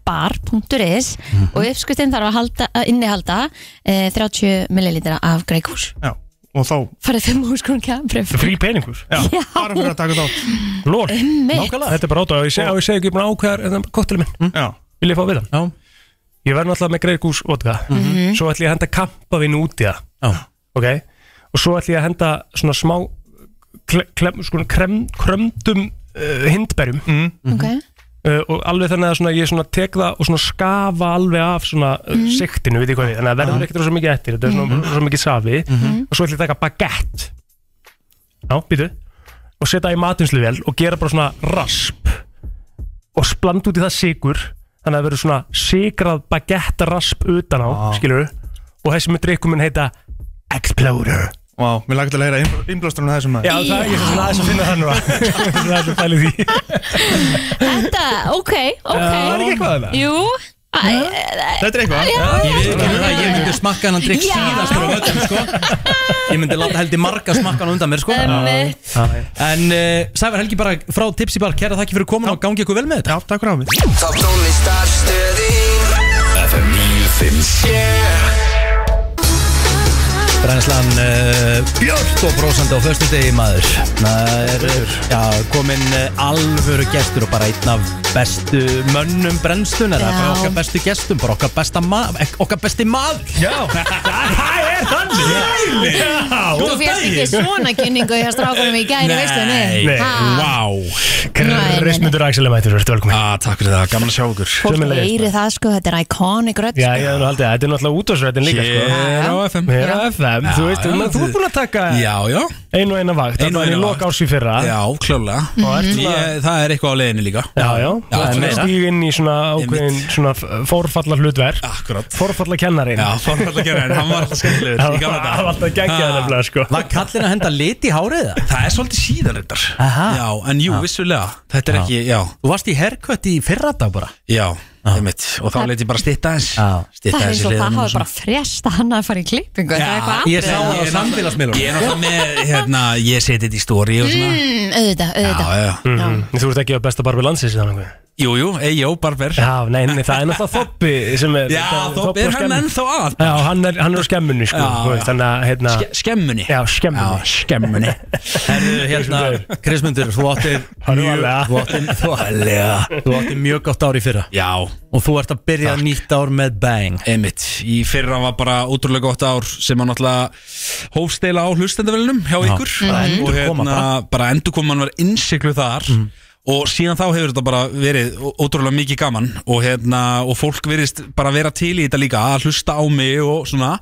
tipsybar.is
Mhm.
Og uppskuttin þarf að, halda, að innihalda eh, 30 millilitra af greikús
Já, og þá
Farið 5 húsgrún kembrif
Frí peningur,
Já,
Já.
bara fyrir að taka þátt
lól
Mitt,
Þetta er bara átta og ég segi, og ég segi ekki búin að ákveða Kottileg minn,
Já,
vil ég fá við hann
Mm. já,
Ég verð náttúrulega með greiðgús vodka Svo ætla ég að henda kampavín út í það
já,
Ok, og svo ætla ég að henda svona smá kle- klem, sko, krem, krömdum uh, hindberjum
ok
uh, og alveg þannig að svona, ég svona tek það og svona skafa alveg af svona mm. siktinu, veit ég hvað við, þannig að verður ekkert rosa mikið eftir, þetta er svona rosa mikið safi og svo ætlum ég að taka baguette já, býtu og setja í matinsluvel og gera bara svona rasp og splanda út í það sigur þannig að það verður svona sigrað baguette rasp utan á, ah. skilur og þessi með drikkum mun heita Exploder
vá, mér lagði til að heyra innblásturinn að þessum maður [laughs]
Já, það er ég svona aðeins að finna það nú Það er svo fælið því
Þetta, ok,
Það er
ok
ekki eitthvað það
Jú, æ,
Þetta er eitthvað
Ég veit ekki hvað, ég myndi smakka hennan drikk
Já.
síðastur á völlum, sko Ég myndi láta held í marga smakka hann undan mér, sko
mitt
En uh, Sævar Helgi bara frá Tipsy Bar Kæra þakki fyrir komin og gangi ykkur vel með þetta
Já, takk fyrir á mig
Top tónlistarstöðin
FM 957
Brænslan uh, björnt og brósandi á föstu degi maður Það er eh, já, komin uh, alvöru gestur og bara einn af bestu mönnum brennslun eða
Já.
bara okkar bestu gestum, bara okkar besta maður okkar besti maður [laughs]
Já, það er þannig
Þú
Já,
fyrst ekki svona kynningu hjá strákunum í gæri, veistu
Nei,
Wow
nei, nei.
Kristmundur Axel er mættur, verður velkomin
ah, Takk fyrir það, gaman að sjá ykkur
Fólk
Sömuleiðis,
heyri það sko, þetta er iconic rödd
Já,
sko.
ég hefði nú haldið að þetta er náttúrulega útvarsrættin líka sko.
Hér á FM
Mér að FM, þú veist,
já,
menn, þú er búin að taka
Já, já,
einu og eina vakt
Einu og
Þannig
eina
að ég
vakt.
loka ás í fyrra Já,
já, klálega
ert svona-
Ég- Það er eitthvað á leiðinni líka
já,
Já,
þú ert svona
meira.
stíg inn í svona ákveðin
Einmitt.
svona fórfalla hlutverk
Akkurat
Fórfalla kennarin
Já, það var alltaf að gera en hann var alltaf skemmtilegur
Það
í gamla
var
daga.
það var alltaf geggjað
Ah.
nefnilega sko
Var kallin að henda lit í hárið það?
Það er svolítið síðan reyndar
Aha.
Já, en jú, vissulega Þetta er ekki, já,
Þú varst í herkvött í fyrradag bara
já, einmitt Og þá leit ég bara stitta eins
Já.
Stitta
Það er eins og það hafa
hliðina
bara fresta hann að fara í klippingu Það er eitthvað
Ég sá það
andrið
á samfélagsmiðlum
Ég er náttúrulega með, hérna, ég seti þetta í stóri og svona
Mm, Auðvitað, auðvitað
Já, já
Mhm. Þú ert ekki á besta barbi landsins í þannig
Jú, jú, ei, jó, barber
Já, nei, nei, það er náttúrulega Þoppi sem er
Já, þá
á
er hann
skemmunni.
ennþá að
Já, hann er, hann er á skemmunni, sko
Já,
þú veist,
já.
Þannig að, hérna
Ske- Skemmunni
Já, skemmunni
Já, skemmunni
[laughs]
Herru, hérna, Krismundur, þú áttir
Hann er
mjög,
varlega.
þú áttir, þú,
Allega
þú áttir mjög gott ár í fyrra
Já,
Og þú ert að byrja nýtt ár með bang
einmitt Í fyrra var bara ótrúlega gott ár sem að náttúrulega hófstela á hlustendavelunum hjá ykkur
bara
og
endurkoma
hérna
bara. Mhm.
bara endurkoman var innsiklu þar og síðan þá hefur þetta bara verið ó- ótrúlega mikið gaman og hérna og fólk verist bara vera til í þetta líka að hlusta á mig og svona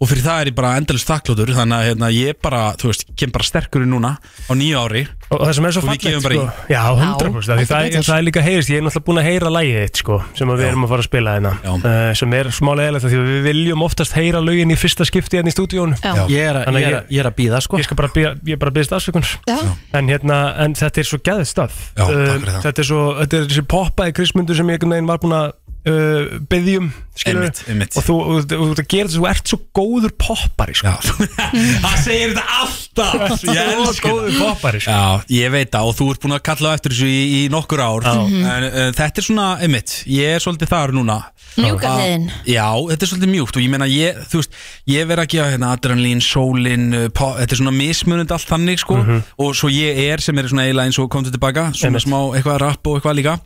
og fyrir það er ég bara endalist þakklótur þannig að hérna, ég bara, þú veist, kem bara sterkurinn núna á nýju ári
Og það sem er svo
Og við
fallegt
gefum bara
sko, Já, 100% af því
heldur
það,
betur.
það er líka heyrist, ég er náttúrulega búin að heyra lægið þitt sko, sem að við erum að fara að spila hérna
Já.
uh, sem er smá leðilegt því að við viljum oftast heyra lögin í fyrsta skipti hérna í stúdíónu
Já.
Ég er, að-
Þannig að
ég er, að- ég er að býða sko
Ég skal bara byrja, ég bara byrjast afsökun
Já.
En hérna, en þetta er svo gæðið stað
Já,
Eh,
takk fyrir það.
Þetta er svo, þetta er þessi poppaði krismyndu sem ég einhvern veginn var búin að uh, byggjum, skilur
Einmitt, einmitt.
Og þú, og, þú- og þú gerir þessu, þú ert svo góður poppari sko.
Já, það segir þetta alltaf Ég
Svo
elsku það
góður poppari sko.
Já, ég veit það og þú ert búin að kalla á eftir þessu í, í nokkur ár
Mhm.
en uh, þetta er svona, einmitt, ég er svolítið þar núna
Mjúka
Að-
hliðin.
Já, þetta er svolítið mjúkt og ég meina ég, þú veist, ég verð að gefa hérna adrenalín, sólin, uh, po- þetta er svona mismunund allt þannig sko og svo ég er sem er svona eiginlega eins og kom til tilbaka svona
Einmitt.
smá eitthvað rap og eitthvað líka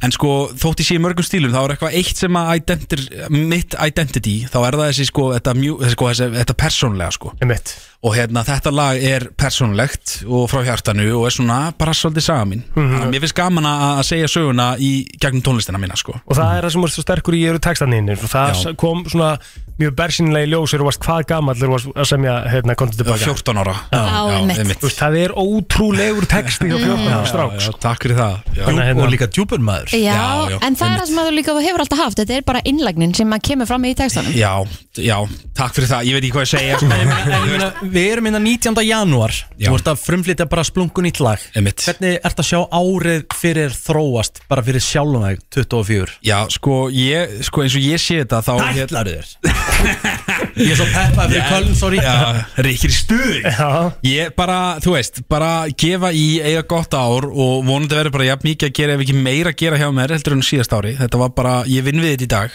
en sko þótt ég sé í mörgum stílum þá er eitthvað eitt sem að identir, mitt identity þá er það þessi sko þetta, mjú, þessi, sko, þessi, þetta persónlega sko
Einmitt.
og hérna þetta lag er persónulegt og frá hjartanu og er svona bara svolítið saga mín
Mhm.
þannig að mér finnst gaman að að segja söguna í gegnum tónlistina mína sko
og það er það sem er svo sterkur í eru textaninn og það
Já.
kom svona mjög bersinlega í ljós þegar þú varst hvað gamall þegar þú varst að semja hérna kontið
Ég var
tilbaka
14 ára
Já, einmitt.
einmitt.
Þú veist, það er ótrúlegur texti hjá 14 ára strák
Já, takk fyrir það já.
Þannig að hérna-
Og líka djúpun maður
Já,
Já, já,
en það er
einmitt.
það sem að þú líka hefur alltaf haft Þetta er bara innlagnin sem að kemur fram í textanum
já, já, takk fyrir það ég veit ekki hvað ég segja sko.
Hm? En ég meina, Við erum hérna 19. janúar
Já.
Þú ert að frumflytja bara splungun í lag
Einmitt.
Hvernig ert að sjá árið fyrir þróast bara fyrir sjálfum þig 24
já, sko, ég, sko eins og ég sé þetta þá hérna-
Ætlarðu þér [laughs] Ég er svo peppað fyrir köln, sorry
já, ríkir stuð
Já,
Ég bara, þú veist, bara gefa í eiga gott ár og vonandi verður bara jafn mikið að gera ef ekki meira að gera hjá mér heldur en síðast ári, þetta var bara, ég vinn við þetta í dag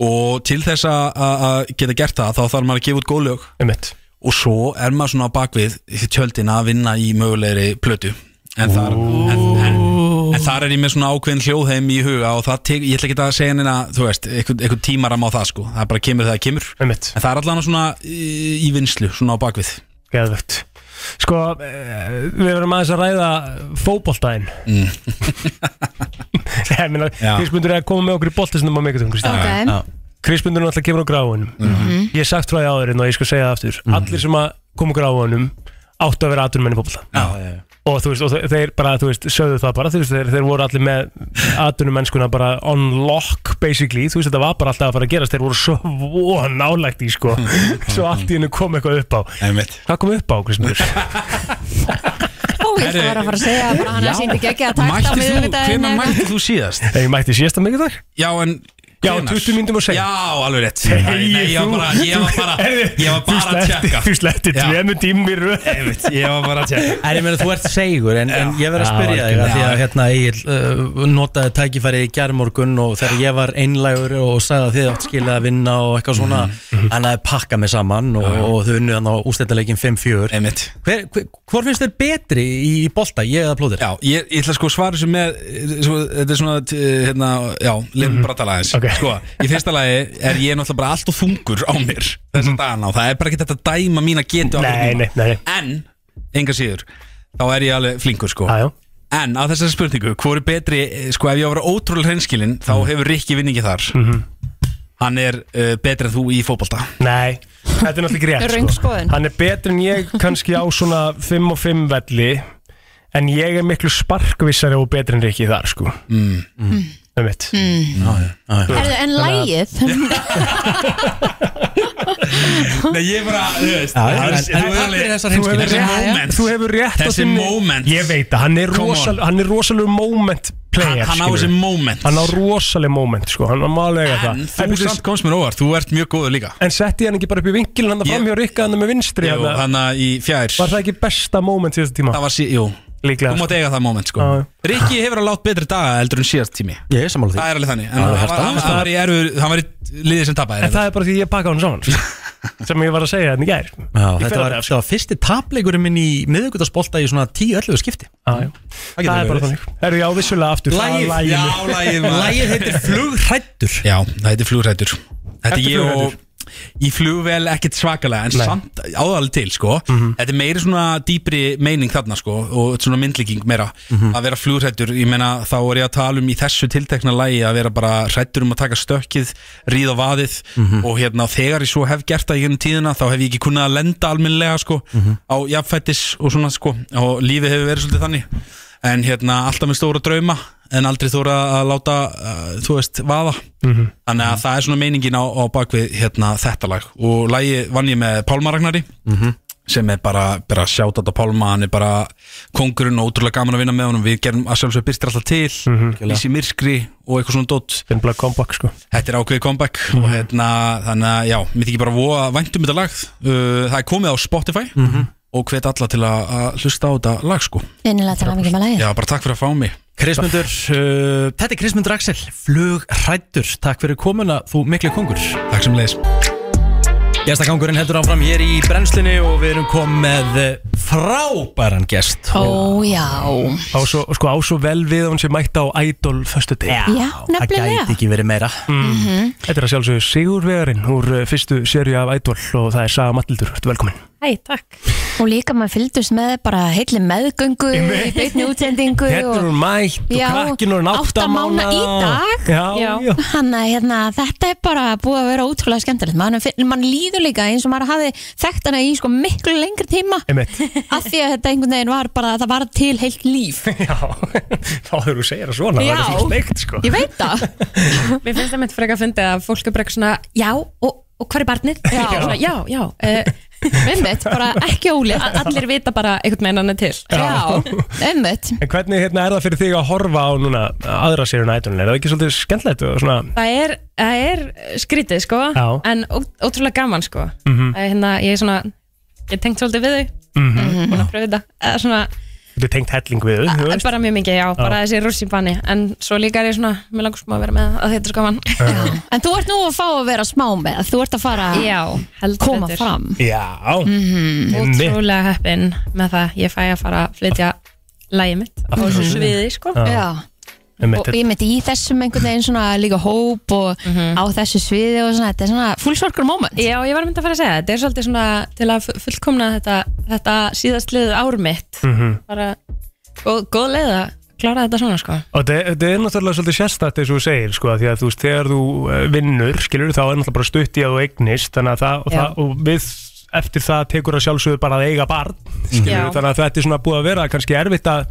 og til þess að- að að geta gert það þá þarf maður að gefa út góð lög
einmitt
og svo er maður svona á bakvið tjöldin að vinna í mögulegri plötu en þar, en, en, en þar er ég með svona ákveðin hljóðheim í huga og það tek, ég ætla ekki að segja neina, þú veist, einhvern einhver tímaram á það sko, það bara kemur þegar það kemur
Einmitt.
en það er allan svona í, í vinslu, svona á bakvið
Geðvögt Sko, eh, við verðum aðeins að ræða fótboltaðinn mm. [laughs] Ég meina,
Já.
Krismundur er að koma með okkur í boltasnum á megatum Kristín
Ok,
Krismundur náttúrulega kemur á gráunum
Mhm.
Ég hef sagt frá því áðurinn og ég skal segja það aftur Allir sem að koma á gráunum áttu að vera aturmenn í fótbolta
Já,
og þú veist, og þe- þeir bara, þú veist, sögðu það bara þú veist, þeir, þeir voru allir með atunum mennskuna bara on lock basically þú veist, þetta var bara alltaf að fara að gerast þeir voru svo nálægt í,
[laughs]
sko svo allt í hennu kom eitthvað upp á
einmitt
hvað kom upp á, Kristmur?
Ó, ég
Herri.
var að fara að segja bara hann
Já.
að síndi ekki að takta á
Mættir þú,
miðvikudaginn
hvenær
eða-
mættir þú síðast?
ég mætti síðasta mikið dag
Já, en
Já,
hvenær?
20 mínútum og seint.
Já, alveg rétt Nei, nei, ég var bara, ég var bara, ég var bara að tjekka
þú sleppti
Já.
tveimu tímum í röð
Einmitt, Ég var bara að tjekka
En ég meina þú ert segur en, en ég verð að
Já,
spyrja þig að því að
algjörlega.
hérna Egil uh, notaði tækifæri í gærmorgun og þegar ég var einlægur og sagði að þið átt skilja að vinna og eitthvað svona hann hafði pakkað mig saman og, og þau unnuð hann á úsleitaleikin 5-4
Einmitt
Hver, hver, hvor finnst þér betri í, í bolta, ég eða plóðir?
Já, ég, ég ætla sko að svara þessu með eh, svo, Þetta er svona, t- eh, hérna, já, lefum bara að tala aðeins
Ok.
Sko, í fyrsta lagi er ég náttúrulega bara allt og þungur á mér Þessa dagana og það er bara ekki þetta dæma mína getu á
Nei,
mér núna.
nei, nei.
En, enga síður, þá er ég alveg flinkur sko
Já, já.
En á þessari spurningu, hvor er betri, eh, sko ef ég á að vera ótrúlega hreinskilin Þá
Mhm.
hefur Rikki vinningi þar Hann er uh, betri en þú í fótbolta
Nei, þetta er náttúrulega ekki rétt sko.
Röng skoðun.
Hann er betur en ég kannski á svona 5 og 5 velli En ég er miklu sparkvissari og betur en Rikki þar sko mm. Það mitt
Herðu, En lægið
Nei, ég bara, þú veist
en- en- en- takk fyrir þessar hreinskilni.
Þessi moment
Þú hefur rétt á
Þessi
þinni-
moment.
Ég veit það, hann er,
Come on.
rosal, hann er rosalegu moment player
Hann, hann á
skilurðu.
þessi moment
Hann á rosalegu moment sko, hann á málega það
En þú
byrju,
samt komst mér óvart, þú ert mjög góður líka
En setti ég hann ekki bara upp í vinkilin hann að
Ég-
fram hjá Rikka hann með vinstri
Jú,
hann að-
þannig að í fjær
Var það ekki besta moment í þessu tíma?
Það var sí, jú
Líklega
Þú mátt eiga það moment sko
Já, já.
Rikki hefur að látt betri daga eldur en síðast tími
Ég er sammála því
Það er alveg þannig En hann
er
var-
hart
hann- hann var í erfur, hann var í liði sem
En
tapaði
það er bara því ég pakka
[laughs]
hann saman sko. sem ég var að segja þannig gær
Já,
Í
þetta var,
fyrradag,
þetta var fyrsti tapleikurinn minn í miðvíkudagsbolta í svona 10-11 skipti
Ah, Já, já.
Það
Það
getur
er
verið.
bara þannig Herðu, já, vissulega aftur það var lagið.
já, lægið
Lægið heitir Flugrættur
Já, það heitir flugrætur Þetta
Ertu
er ég og
flugræddur?
í flugvél ekkert svakalega en
Nei. Mhm.
samt áðalið til sko þetta er meiri svona dýpri meining þarna sko og þetta er svona myndlíking meira
Mhm.
að vera flugrættur, ég meina þá er ég að tala um í þessu tiltekna lægi að vera bara hrættur um að taka stökkið, ríða á vaðið
Mhm.
og hérna þegar ég svo hef gert það í gennum tíðina þá hef ég ekki kunnað að lenda almennilega sko
Mhm.
á jafnfættis og svona sko og lífið hefur verið svolítið þannig en hérna alltaf með stóra drauma en aldrei þóra að láta uh, þú veist, vaða
Mhm.
þannig að það er svona meiningin á, á bakvið hérna, þetta lag og lagi vann ég með Pálma Ragnari
Mhm.
sem er bara, bara sjátt á Pálma hann er bara kongurinn og ótrúlega gaman að vinna með honum við gerum að sjálfsög byrstir alltaf til
Mhm.
Lísi Myrskri og eitthvað svona dótt
Finn Black Comeback sko
Þetta er ákveðið comeback
Mhm.
og hérna, þannig að já, mér þykir bara voða væntum þetta lag uh, Það er komið á Spotify
Mhm.
og hvet alla til að, að hlusta á þetta lag sko
Innilega til að mikið með lagið
Já, bara takk fyrir að fá mig
Krismundur, uh, þetta er Krismundur Axel Flugrættur, takk fyrir komuna Þú miklu kongur
Takk sem leiðis
Gestakangurinn heldur áfram hér í brennslunni og við erum komið með eh, frábæran gest
Ó já
Á svo, sko, á svo vel við að hún sé mætt á Idol föstu dag
Já,
það
nefnilega.
gæti ekki verið meira
Þetta er að sjálfsögðu Sigurvegarinn úr uh, fyrstu sériu af Idol og það er Saga Matildur, ertu velkomin
Æ, takk.
Og líka maður fylgdust með bara heilli meðgöngu í beitni útsendingu
Þetta er
og
hún mætt og
Já,
krakkin og hún átta
átta mána
mánaða.
í dag.
Já,
Já.
já
hann að hérna, þetta er bara búið að vera ótrúlega skemmtilegt mann, mann líður líka eins og maður hafi þekkt hana í sko miklu lengri
[laughs]
tíma
Einmitt,
[laughs] af því að þetta einhvern veginn var bara það var til heilt líf
já, þá þurfum við að segja það svona, það
Já.
er svona steikt sko
ég veit það
Mér finnst það mitt frekar að fyndi að fólk er bara eitthvað svona, já, og, og hvar er barnið? Já, já, svona, já. já uh,
einmitt, bara ekki ólega
a- allir vita bara einhvern veginn hann er til.
já, einmitt
En hvernig hérna, er það fyrir þig að horfa á núna aðra sérun ætlun, er það ekki svolítið skemmtilegt og svona,
Það er, það er skrítið, sko,
Já.
en ó, ótrúlega gaman, sko. Mm hérna, ég er svona, ég tengt svolítið við þau, mm
Mhm.
-hmm. búin að pröfa þetta, eða svona, eh,
þetta er tengt helling við þú veist?
bara mjög mikið, já, bara þessi rússipanni, en svo líka er ég svona, mér langar smá að vera með að þetta er svo gaman.
en þú ert nú að fá að vera smá með þú ert að fara að
já, heldur
koma
betur.
fram
Já,
Mhm.
einmitt.
ótrúlega heppin með það ég fæ að fara að flytja lægið mitt á
Aftur á
sviði sko.
já
einmitt,
og ég myndi í þessum einhvern veginn svona líka hóp og á þessu sviði og svona, þetta er svona full circle moment
Mhm. Já, ég var myndi að fara að segja, þetta er svolítið svona til að fu- fullkomna þetta, þetta síðast liðið ár mitt
Mhm.
bara góð, góð leið að klára þetta svona sko.
Og þetta þetta er náttúrulega svolítið sérstætt eins og þú segir sko, því að þú veist, þegar þú eh, vinnur skilur þá er náttúrulega bara stutt í að þú eignist þannig að það, og,
Já.
það, og við eftir það tekur að sjálfsögur bara að eiga barn skilur,
Já.
þannig að þetta er svona búið að vera kannski erfitt að,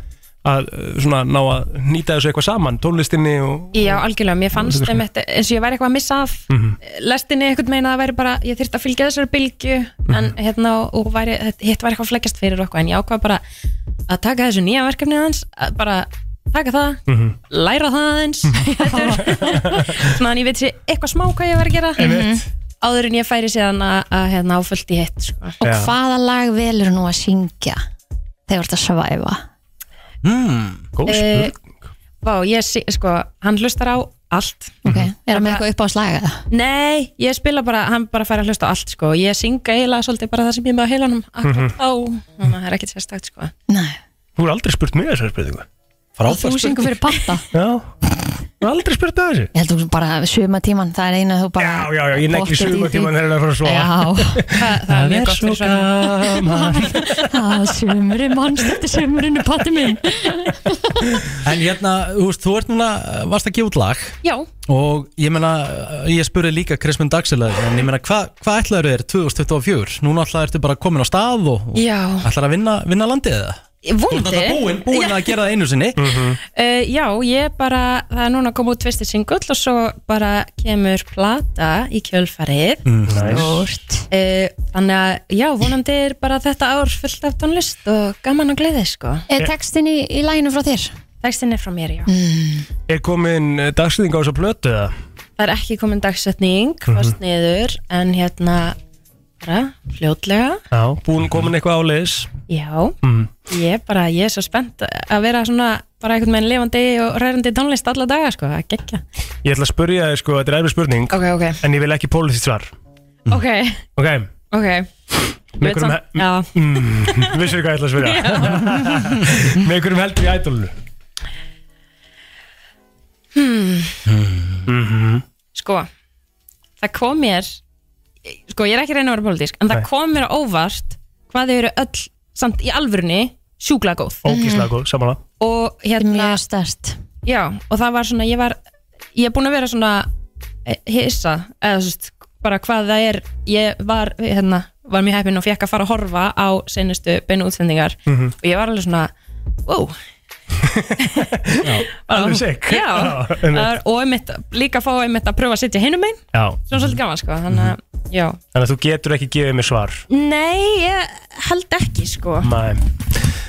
að eh, svona ná að nýta þessu eitthvað saman, tónlistinni og
Já, algjörlega, mér fannst þeim eins og ég væri eitthvað að missa af Mhm. lestinni einhvern veginn að það væri bara, ég þyrfti að fylgja þessari bylgju en hérna og væri, þetta- hitt væri eitthvað flækjast fyrir okkur en ég ákvað bara að taka þessu nýja verkefni aðeins að bara taka það, læra það aðeins [laughs] þetta er- svona en ég veit sér eitthvað smá hvað ég var að gera Mhm. áður en ég færi síðan að, að hérna áfullt í hitt sko.
Og
Já.
hvaða lag velur nú að syngja þegar þú ert að svæfa?
góð
Eh,
spurning
Vá, ég sé, sko, hann hlustar á allt
Ok,
Mhm.
er það með eitthvað upp á slaga?
Nei, ég spila bara, hann bara fær að hlusta á allt sko. Ég synga eiginlega svolítið bara það sem ég er með á heilanum akkurat þá, þannig að það er ekkert sérstakt sko.
Nei.
Þú er aldrei spurt mig þessar spurningu
Þú syngur fyrir patta?
Já, þú er aldrei spurt að þessu
Ég held þú bara suma tíman, það er eina þú bara...
Já, já, já, ég negli
pottet í því.
suma tíma þegar það er að fara að sofa
Já,
[laughs]
það, það er mjög gott fyrir svo
gaman
[laughs]
það sumurinn Ah, manns, þetta er sumurinn er patti minn.
En hérna, þú veist, þú ert núna varst að gefa út lag
Já,
og ég meina, eh, ég spurði líka Krismund Axel að þér, en ég meina, hvað hva ætlaður þér 2024? Núna ætlaður ertu bara komin á stað og, og
já,
ætlar að vinna, vinna landið eða? Þú ert
vondi
alltaf búin, búin að gera það einu sinni
uh, Já, ég bara, það er núna að koma út tvistir singull og svo bara kemur plata í kjölfarið
Stort.
uh, Þannig að, já, vonandi er bara þetta ár fullt af tónlist og gaman og gleði sko.
Er textin í, í læginu frá þér?
Textin er frá mér, já
Er komin eh, dagsetning á þessa plötu eða?
Það er ekki komin dagsetning, fast niður en hérna, bara, fljótlega
Já, búin komin eitthvað áleiðis
Já, ég bara, ég er svo spennt að vera svona bara einhvern veginn lifandi og ræðandi tónlist alla daga, sko, að gegja.
Ég ætla að spurja þig sko, þetta er erfið spurning
Ok, ok,
En ég vil ekki pólitíkt svar
ok,
Ok,
ok.
með einhverjum, he-
Já,
mm, [laughs] vissir hvað ég ætla að spurja [laughs] Með einhverjum heldur í ædolunu
sko, það kom mér sko, ég er ekki að reyna að vera pólitísk en það
Nei.
kom mér á óvart hvað þau eru öll samt í alvörunni sjúkla góð
Ógíslega góð, samanlega
og hérna mjög stærst já, og það var svona, ég var ég er búin að vera svona eh, hissa, eða þú veist, bara hvað það er ég var, hérna, var mjög heppin og fekk að fara að horfa á seinustu beinu útsendingar
Mhm.
og ég var alveg svona,
[laughs]
wow
Alveg sick
já,
einmitt.
það var- og einmitt, líka fá einmitt að pröfa að sitja hinum einn
Já.
svona svolítið gaman, sko, þannig að já,
Þannig að þú getur ekki gefið mér svar
nei, ég held ekki, sko
Nei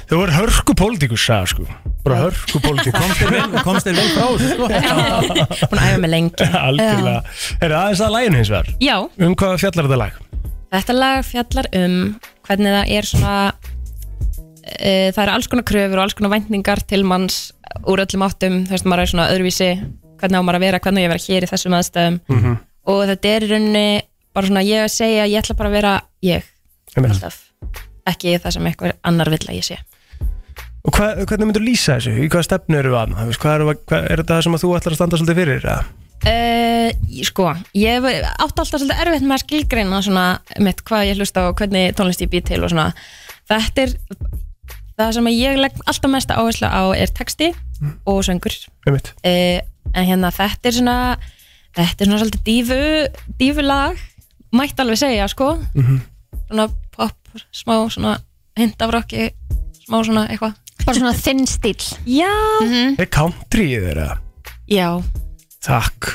Þú er hörku pólitíkus, sagði sko Bara hörku
[laughs]
pólitíkus
Komst þér vel frá þessu, sko?
Búin að æfa mig lengi
Algjörlega Er það aðeins að læginu hins vegar?
[laughs] Já,
Um hvað fjallar þetta lag?
Þetta lag fjallar um hvernig það er svona e, það eru alls konar kröfur og alls konar væntingar til manns úr öllum áttum þú veist, maður er svona öðruvísi hvernig á maður að vera, hvernig á ég að vera hér í þessum aðstæðum
Mhm.
og þetta er í rauninni bara svona ég að segja, ég ætla bara að vera ég alltaf, ekki það sem eitthvað annar vill að ég sé
Og hvað, hvernig myndur lýsa þessu? Í hvaða stefnu eru við að? Þú veist, Hvað er, hvað er þetta sem að þú ætlar að standa svolítið fyrir? eða?
Uh, sko, ég hef átt alltaf svolítið erfitt með að skilgreina svona mitt hvað ég hlusta og hvernig tónlist ég býr til og svona, þetta er það sem ég legg alltaf mesta áherslu á er texti og söngur
uh,
en hérna þetta er svona þetta er svona svolítið dífu dífulag, mætt alveg segja sko,
Mhm.
svona pop, smá svona hint af rocki smá svona eitthvað
Bara svona þinn Mm. stíl
Já, Mm.
Er country í þeirra?
já
Takk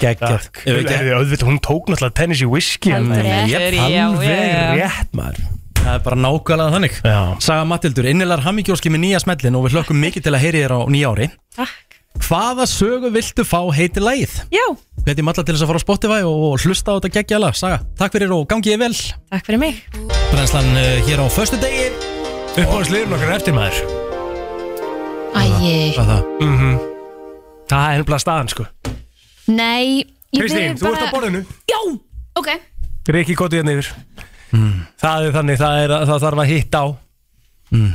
Gægjart
Ef ekki-
Auðvitað, hún tók náttúrulega Tennessee Whiskey hérna.
Heldur
Alveg
betur, já, já, já.
rétt maður
Það er bara nákvæmlega þannig
já.
Saga Matildur, innilegar hammingjóski með nýja smellin og við hlökkum mikið til að heyri þér á nýja ári
Takk
Hvaða sögu viltu fá heiti lagið?
Já
Hvetjum alla til þess að fara á Spotify og hlusta á þetta geggjala Saga, takk fyrir og gangi ég vel
Takk fyrir mig
Brennslan uh, hér á föstu degi
Uppáðsliðurinn okkar eftir maður
Æi,
Hvað það?
Mm Það er ennbla staðan sko
nei ég
Kristín,
vil
þú ert á borðinu
Já, ok
Riki kotið hérna yfir Það er þannig, það, er, að- það þarf að hitta á Mm.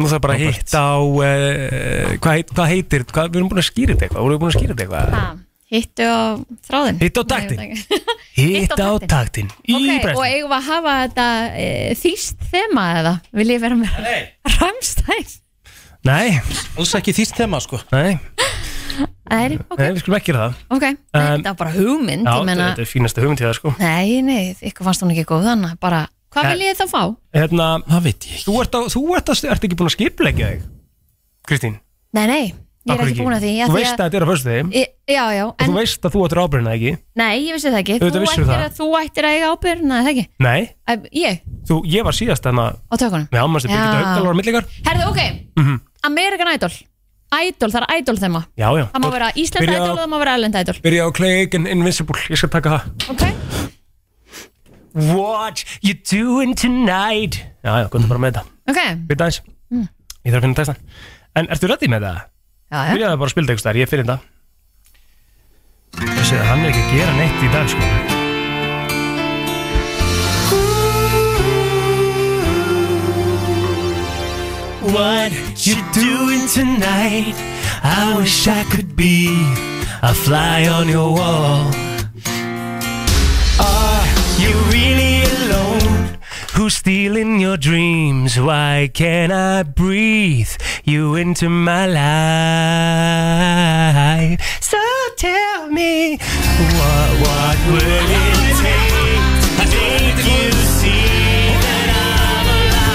Nú þarf bara að hitta á uh, hvað, heit, hvað heitir hvað, Við erum búin að skýra þetta eitthvað Vorum við búin að skýra þetta eitthvað
Hittu á þráðin
Hittu á taktinn. Hitta á taktin Í
Ok, og
brennslan
eigum við að hafa þetta e, þýst þema eða? Vil ég vera með Ramstein?
Nei,
alls ekki þýst þema sko
Nei,
Það er,
nei, við skulum ekki gera það
ok, um,
Um,
þetta var bara hugmynd
Já,
ég meina,
þetta er fínasta hugmynd í það sko
nei, nei, ykkur fannst hún ekki góð þannig, bara, hvað
Nei.
vil ég þá fá?
Hérna,
Það veit ég
þú ert, á, þú ert, að, ert ekki búin að skipleggja þig Kristín,
Nei, nei, ég er
Akkur
ekki búin að því
Þú veist að
að,
þetta er á fyrstu þeim
ég, já, já,
Og þú
en,
veist að þú ættir ábyrðina ekki
nei, ég vissi það ekki
Auðvitað
þú
vissirðu
ættir,
það.
að, þú ættir að eiga ábyrna, það ekki
Nei,
Æ, ég,
þú, ég var síðast þarna
á tökunum
Með ámannstu
Já.
Birgitta Haugdal var á millikar
Herðu, ok,
mm -hmm.
Amerikan Idol Idol, það er Idol þema
Já, já
Það má vera Ísland
Byrja á-
Idol og það má vera Erlend Idol
Byrja á Clay Aiken Invincible, ég skal taka það
Ok,
What you doing tonight Já, já, komðu bara með þetta
ok,
Byrja aðeins
Mm.
Ég þarf að finna textan En ertu ready með það?
já, já
Byrjaðu bara að spila eitthvað, ég finn það Þú séð að hann er ekki að gera neitt í dag sko What you doing tonight I wish I could be A fly on your wall Are you really alone? Who's stealing your dreams? Why can't I breathe you into my life? So tell me, what, what would it take to make you see that I'm alive?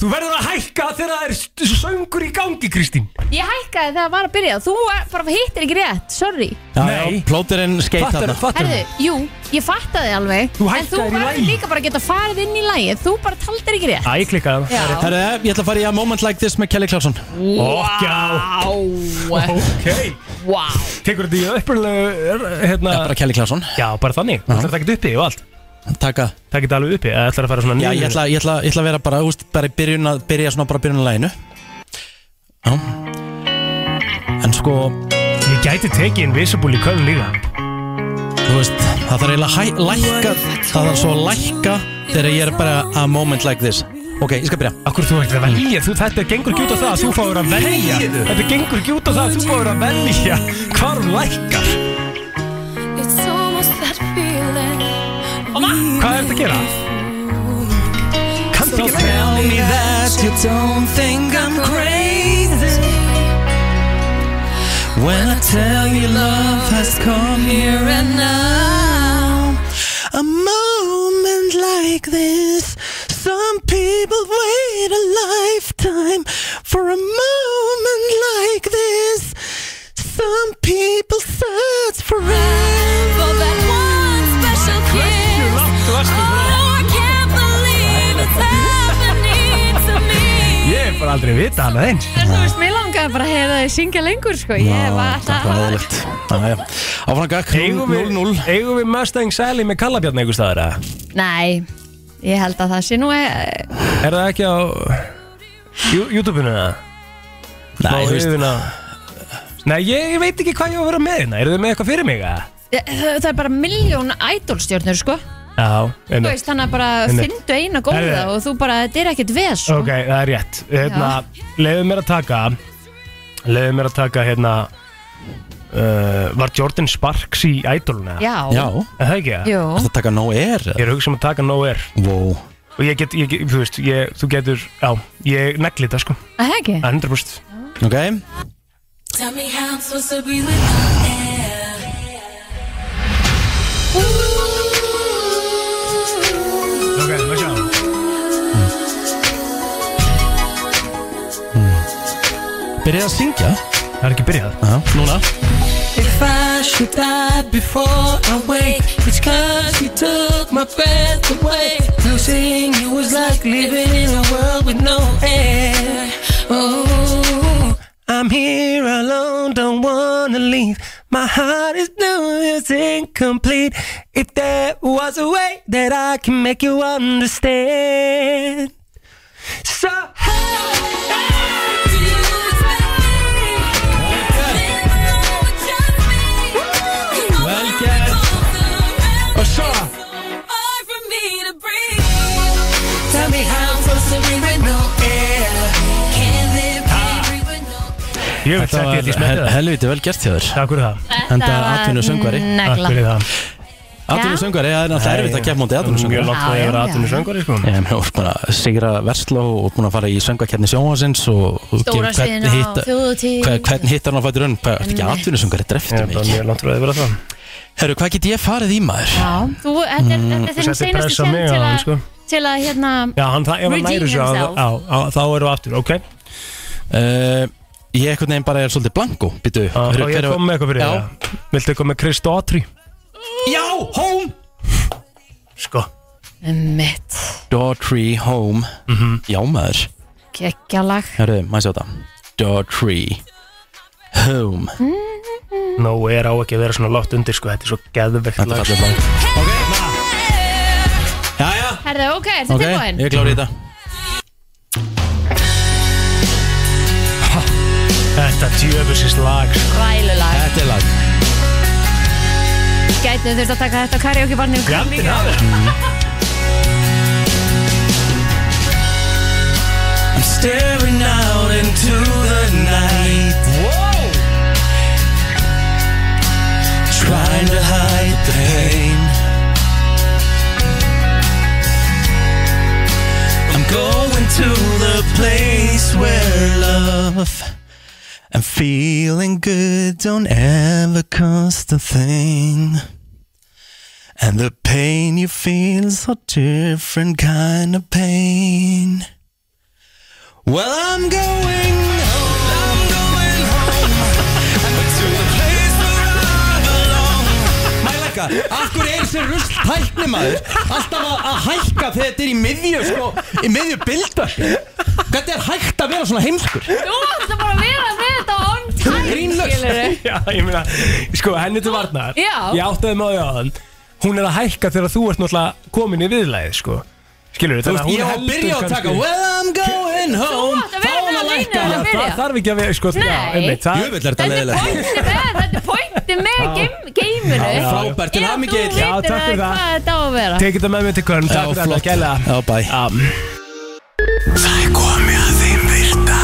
Þú verður að hækka þegar það er söngur í gangi, Kristín.
Ég hækkaði þegar það var að byrja Þú er- bara hittir ekki rétt, sorry
Nei.
Plóterinn skeit
Fattar,
þarna
fattar.
Herðu, jú, ég fattaði alveg
Þú
En þú
hækkaðir í
verður
lagið.
líka bara að geta farið inn í lagið Þú bara taldir ekki rétt
Æ, ég klikkaði það.
Já.
Herðu, ég ætla að fara í að moment like this með Kelly Clarkson
Okkjá Ok
Vá
Tekur þetta í upprunalegu hérna,
Bara Kelly Clarkson
Já, bara þannig Þú ætlar að taka þetta uppi og allt
Taka
Takk þetta alveg uppi Það ætlar að fara svona
Já, ég ætla, ég ætla, ég ætla að vera bara, úst, bara í byrjun að byrja svona bara byrjun að læginu Já En sko,
Ég gæti tekið Invisible í Köln líka
þú veist, það þarf eiginlega að hæ- lækka Það þarf svo að lækka þegar ég er bara a moment like this Ok, ég skal byrja
Akkur þú ert að velja, þú, þetta gengur ekki út á það að þú fáir að velja
Þegiðu.
Þetta gengur ekki út á það að þú fáir að velja Hvar hún lækkar
It's almost that feeling.
Hvað er þetta að gera?
So tell me that you don't think I'm crazy.
When I tell you love has come here and now, a moment like this, some people wait a lifetime for a moment like this. Some people search forever that one special kiss. Oh, I can't believe it's happening to me.
Ég er bara aldrei að vita hana eins
Þú veist, mér langaði bara að heyra þau syngja lengur sko. Ég var alltaf að
Áfram gakk 0-0 Eigum við Mustang Sally með kallabjarn einhver staðar eða?
Nei, ég held að það sé nú eh,
Er það ekki á Jú- YouTube-unu eða? Smá
þú veist-
yfirvin á- Nei, ég ég veit ekki hvað ég á að vera með hérna Eru þið með eitthvað fyrir mig eða?
eh, Það það er bara miljón idolstjörnur sko.
Já,
Þú veist, þannig að bara
Einmitt.
fyndu eina góða
Herðu.
og þú bara, þetta er ekkert ves sko.
Ok, það er rétt hérna, Leifðu mér að taka Leifðu mér að taka hérna uh, Var Jordan Sparks í Idoluna?
Já. Já.
Er það ekki það?
Jú. Ertu
að taka No Air? Ég er að hugsa um að taka No Air wow. Og ég get, ég, get- þú veist, ég, þú getur Já, ég negli þetta sko
Að það ekki?
100% Ok
Tell me how I'm supposed to breathe without air.
Ok, maður sjá
Byrjaði að syngja
Það er ekki byrjað
Já, núna
If I should die before I wake, it's cause you took my breath away. Losing you was like living in a world with no air. Oh, I'm here alone, don't wanna leave. My heart is new, it's incomplete. If there was a way that I can make you understand. So,
Well, yes.
or so.
Hard for me to breathe.
Tell me how I'm supposed to breathe with no air. Can't live, can't breathe with no
Ég vil setja þetta í smettið.
helviti vel gert hjá þér
Takk fyrir það
Þetta Enda var atvinnu söngvari
negla. Takk fyrir
það
Atvinnu söngvari, það er náttúrulega
Nei,
erfitt að kemja mútið atvinnu söngvari
mjög langt frá því að vera Já, já. atvinnusöngvari, sko.
Ég meina, þú ert bara að sigra versló og búin að fara í söngvakerni sjónvarsins og og
Stóra
gefur- hvern
sviðinu á
hitta-
þjóðhátíð.
hver- Hvern hittar hann á fætur önn? Hvað, ertu ekki
Einmitt.
atvinnu söngvari, dreftu mig
Mjög langt frá því að vera það
Herru, hvað get ég farið í maður?
Já, þú, þetta er, þetta er
Mm. Þú
þinn
settir
seinasti
pressu á
sjálf
mig á
til,
hann,
að-
sko.
til að hérna
Já, hann það, ef hann
Redeem
næri svo á,
himself.
á, á, Þá erum við aftur, ok
uh, Ég einhvern veginn bara er svolítið blanko Býtu,
Og ég kom með eitthvað fyrir það Viltu eitthvað með Kristó Atri?
Já, home
Sko
Mitt,
Daughtry Home Já maður
geggjalag
Herru, maður sjá þetta Daughtry Home
No Air á ekki að vera svona látt undir, sko Þetta er svo geðvegt Þetta
er fallið
Herðu, ok, er þetta tilbúin?
ég er klár í þetta
Þetta tjöfusins lag sko.
Vælulag
Þetta er lag
Gætið þurft að taka þetta karaoke barnum
Gætið
I'm staring out into the night. Whoa! Trying to hide the pain. I'm going to the place where love
I'm feeling good, don't ever cost a thing And the pain you feel's a different kind of pain Well, I'm going Mælækka, af hverju er þessi rust tækni maður alltaf að, að hækka þegar þetta er í miðju sko, í miðju bildar Hvernig er hægt að vera svona heimskur?
Þú ætti bara að vera með þetta on time,
Grínlaust.
skilurðu
[laughs] Já, ég meina, sko, henni til varnar
Já.
Ég áttaði maður á þann Hún er að hækka þegar þú ert náttúrulega komin í viðlæði, sko Skilur
Þú veist, ég á að byrja að taka Well I'm going home
átt að vera með að línu að
Það
byrja
þarf ekki að vera, sko
Nei.
Jöfull er þetta leiðilegt
Pointið er- Þetta er pointið með game- geiminu
Já, frábært, til
Ef
hamingju,
þú
Egill. Já,
vitir
takk fyrir
að
það.
hvað þetta á að vera
Tekið það með mér til
Já,
kvörn, takk fyrir
flott.
þetta, gæla
Já, bæ
Það er komið að þeim virta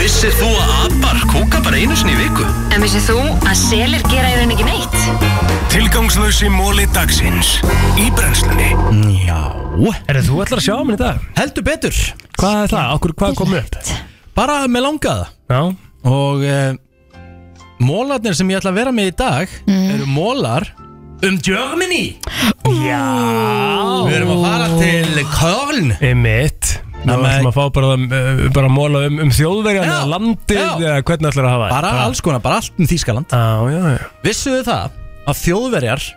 Vissir þú að abar kúka bara einu sinni í viku?
En vissið þú að selir gera í rauninni ekki neitt?
Tilgangslösi móli dagsins Í brennslunni
Já
Erðu þú ætlar að sjá minn í dag?
Heldur betur
Hvað er það? Okkur, hvað kom upp?
Bara með langaða
Já
Og uh, Mólarnir sem ég ætla að vera með í dag Eru mólar Um Germany
Já
Við erum að fara til Köln
Emitt Nú
Nei,
ætlum að fá bara, uh, bara að móla um, um þjóðverjan eða landið eða hvernig ætlar að hafa
Bara alls konar, bara allt um Þískaland
Já, já, já
Vissuðu það að þjóðverjar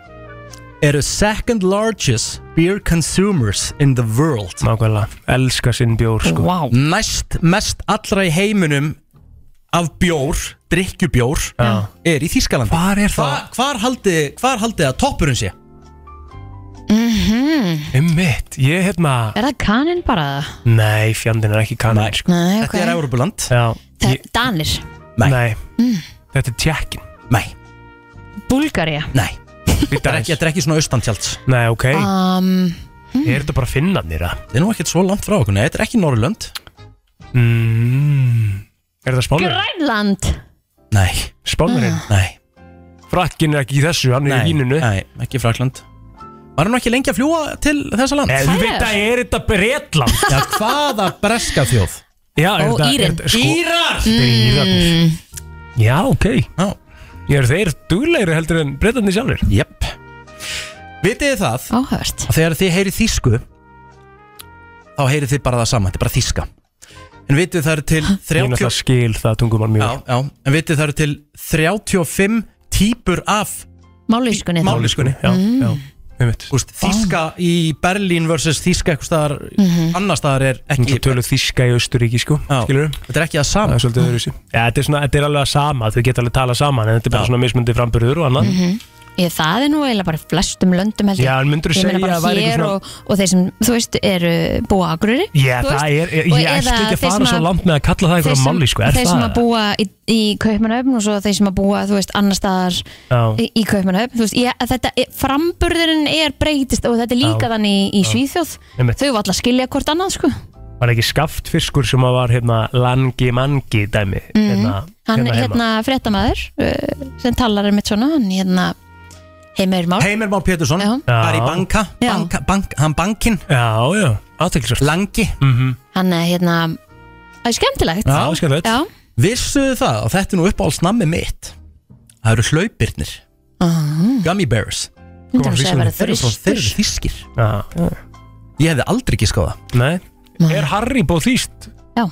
eru second largest beer consumers in the world
Nákvæmlega, elska sinn bjór sko
wow. Næst mest allra í heiminum af bjór, drikkjubjór
Já.
er í Þískaland Hvar
er það?
Hvar haldi, hvar haldi að toppurinn sé?
Emitt, ég hérna
Er það kanin bara?
Nei, fjandinn er ekki kanin Nei, sko.
Nei, ok. Þetta er
Európuland
Já,
Það, Danir,
Nei,
Mm.
Þetta er tjekkin
Nei
Búlgaria
Nei
Þetta
er ekki, þetta er ekki svona austantjalds
Nei, ok
Ah.
um,
Er þetta bara finnarnir að?
Þetta er nú ekkert svo langt frá okkur, nei, þetta er ekki Norrlönd
mm, Er það spánverið?
Grænland
Nei
Spánverið?
Nei
Frakkin er ekki í þessu, hann er í víninu
Nei, ekki Frakland Var hann nú ekki lengi að fljúa til þessa land?
Nei, þú veit að er þetta Bretland
Já, hvaða breska þjóð?
Já, er
Og
þetta- er
Írin.
þetta- sko-
Írar!
Þetta er
Mm.
Írarnir. Já, ok
Já
Ég er þeir duglegri heldur en Bretlandni sjálfur
Jep Vitið þið það
Áhört
að þegar þið heyrið þýsku þá heyrið þið bara það sama, þetta er bara þýska En vitið þið það eru til
Ég náttúrulega
30
skil það tungumál mjög
Já, já, en vitið þið það eru til 35 típur af
Máluískunni
máliskunni
Já,
Mm.
já, einmitt
Úst, Þíska í Berlín versus þíska eitthvað staðar, annar staðar er
Svo
ekki
töluð þíska í Austuríki, sko Skilur við?
Þetta er ekki það
Það
sama
er svolítið öðru Já, þetta er, svona, þetta er alveg að sama, þau geta alveg að tala saman En þetta er bara svona mismundi framburður og annað
Mhm. Ég, það er nú eiginlega bara í flestum löndum heldur
Já, en myndirðu segja
að
að væri
væri
eitthvað svona-
og, og þeir sem, þú veist, eru búa á agrurri
Já, það er, ég, ég ætla ekki að fara svo langt með að kalla það eitthvað máli, sko Er
Þeir sem að
það?
búa í, í kaupmanöfn og svo þeir sem að búa, þú veist, annar staðar
Já.
í, í kaupmanöfn Þú veist, ég, þetta, er- framburðurinn er breytist og þetta er líka
Já.
þannig í
Já.
Svíþjóð
Einmitt.
Þau var alltaf að skilja hvort annað, sko
Var ekki skaftfiskur sem að var hérna langi mangi dæmi
Mhm.
hérna,
Hann er
heima?
hérna fréttamaður uh, sem talar um mitt svona, hann hérna Heimir Már
Heimir Már Pétursson
Já.
var í banka, banka bank, hann bankin
Já, já, aðteklisvært
Langi
Mm.
Hann er hérna, það er skemmtilegt
Já,
skemmtilegt.
Já,
Vissuðu það og þetta er nú uppáhaldsnammi mitt Það eru hlaupirnir Gummy bears
Myndi hún segja að vera
Þeir eru frá- þeir eru
þristur?
þýskir
Já, já.
Ég hefði aldrei ekki skoða
Nei, er Harry bóð þýst?
Já,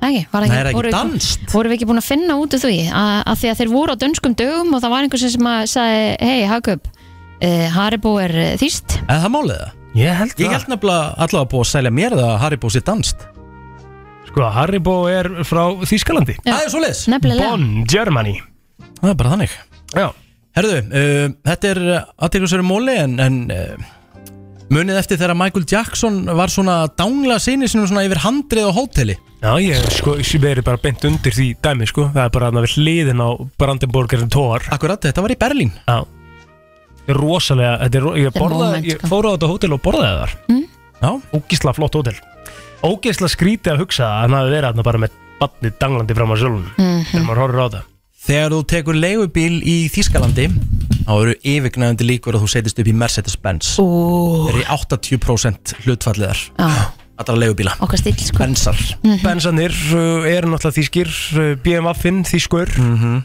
ekki, var ekki,
Nei, er það ekki
voru,
danskt?
voru við ekki búin að finna út úr því að, að því að þeir voru á dönskum dögum og það var einhver sem sem að sagði, hei Hagub uh, Haribo er uh, þýst
En það málið það
Ég held
Ég held nefnilega allavega búið að selja mér það að Haribo sé danst
Sko, Harry bóð er frá Þýskalandi
Það er svoleiðis
Nefnilega,
Bonn, Germany
Það er bara þannig
Já,
Herðu, uh, þetta er aðteklisveru móli en, en uh, munið eftir þegar Michael Jackson var svona að dangla sinni sinum svona yfir handrið á hóteli
já ég hef sko, ég verið bara beint undir því dæmi, sko Það er bara hann við hliðin á Brandenburgerin Tor
Akkurat, þetta var í Berlín
Já Þetta er Rosalega, þetta er, ro- ég,
Þetta er
borðaði,
moment,
ég
sko.
fór á þetta hótel og borðaði þar
Já,
Ógisla flott hótel Ógisla skrítið að hugsa að hann hafi verið hann bara með batnið danglandi fram á sjálfum Þegar maður horfir á það
Þegar þú tekur leigubíl í Þískalandi þá eru yfirgnæðandi líkur að þú setjast upp í Mercedes-Benz Það er í 80% hlutfalliðar
Já.
allra leigubíla
okkar stíl sko
Bensar
Bensarnir uh, eru náttúrulega þýskir uh, BMW-inn þýskur
Mhm.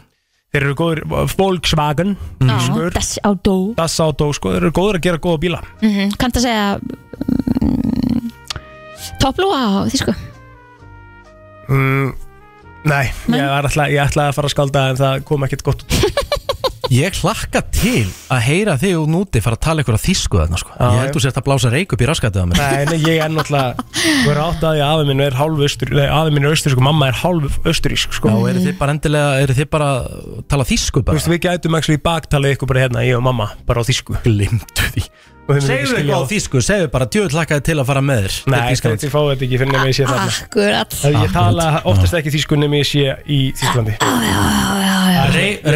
Þeir eru góður, Volkswagen
Já,
þýskur,
Dash Auto
Das Auto sko, þeir eru góður að gera góða bíla
mm -hmm. Kanntu að segja mm, Topplúa á þýsku
mm, Nei, Ég, var ætla, ég ætlaði að fara að skalda en það kom ekkert gott út.
Ég hlakka til að heyra þig úr núti fara að tala ykkur að þýsku þarna sko.
Já,
Ég held
já.
þú sért að blása reik upp í raskatið á mér
Nei, nei, ég er náttúrulega Þú er átt að því að afi minn er hálf austur Nei, afi minn er austurísk og mamma er hálf austurísk sko.
Já, eru þið bara endilega, eru þið bara að tala þýsku
Þú veist,
bara?
við gætum ekki í baktalið ykkur bara hérna, ég og mamma, bara á þýsku
Glimtu því Segðu eitthvað á þýsku, segðu bara Djöðu hlakkaði til að fara með þér
Nei, ég fá þetta ekki fyrir nema ég sé þarna
Akkurat
Að Ég tala oftast ekki þýsku nema ég sé í Þýsklandi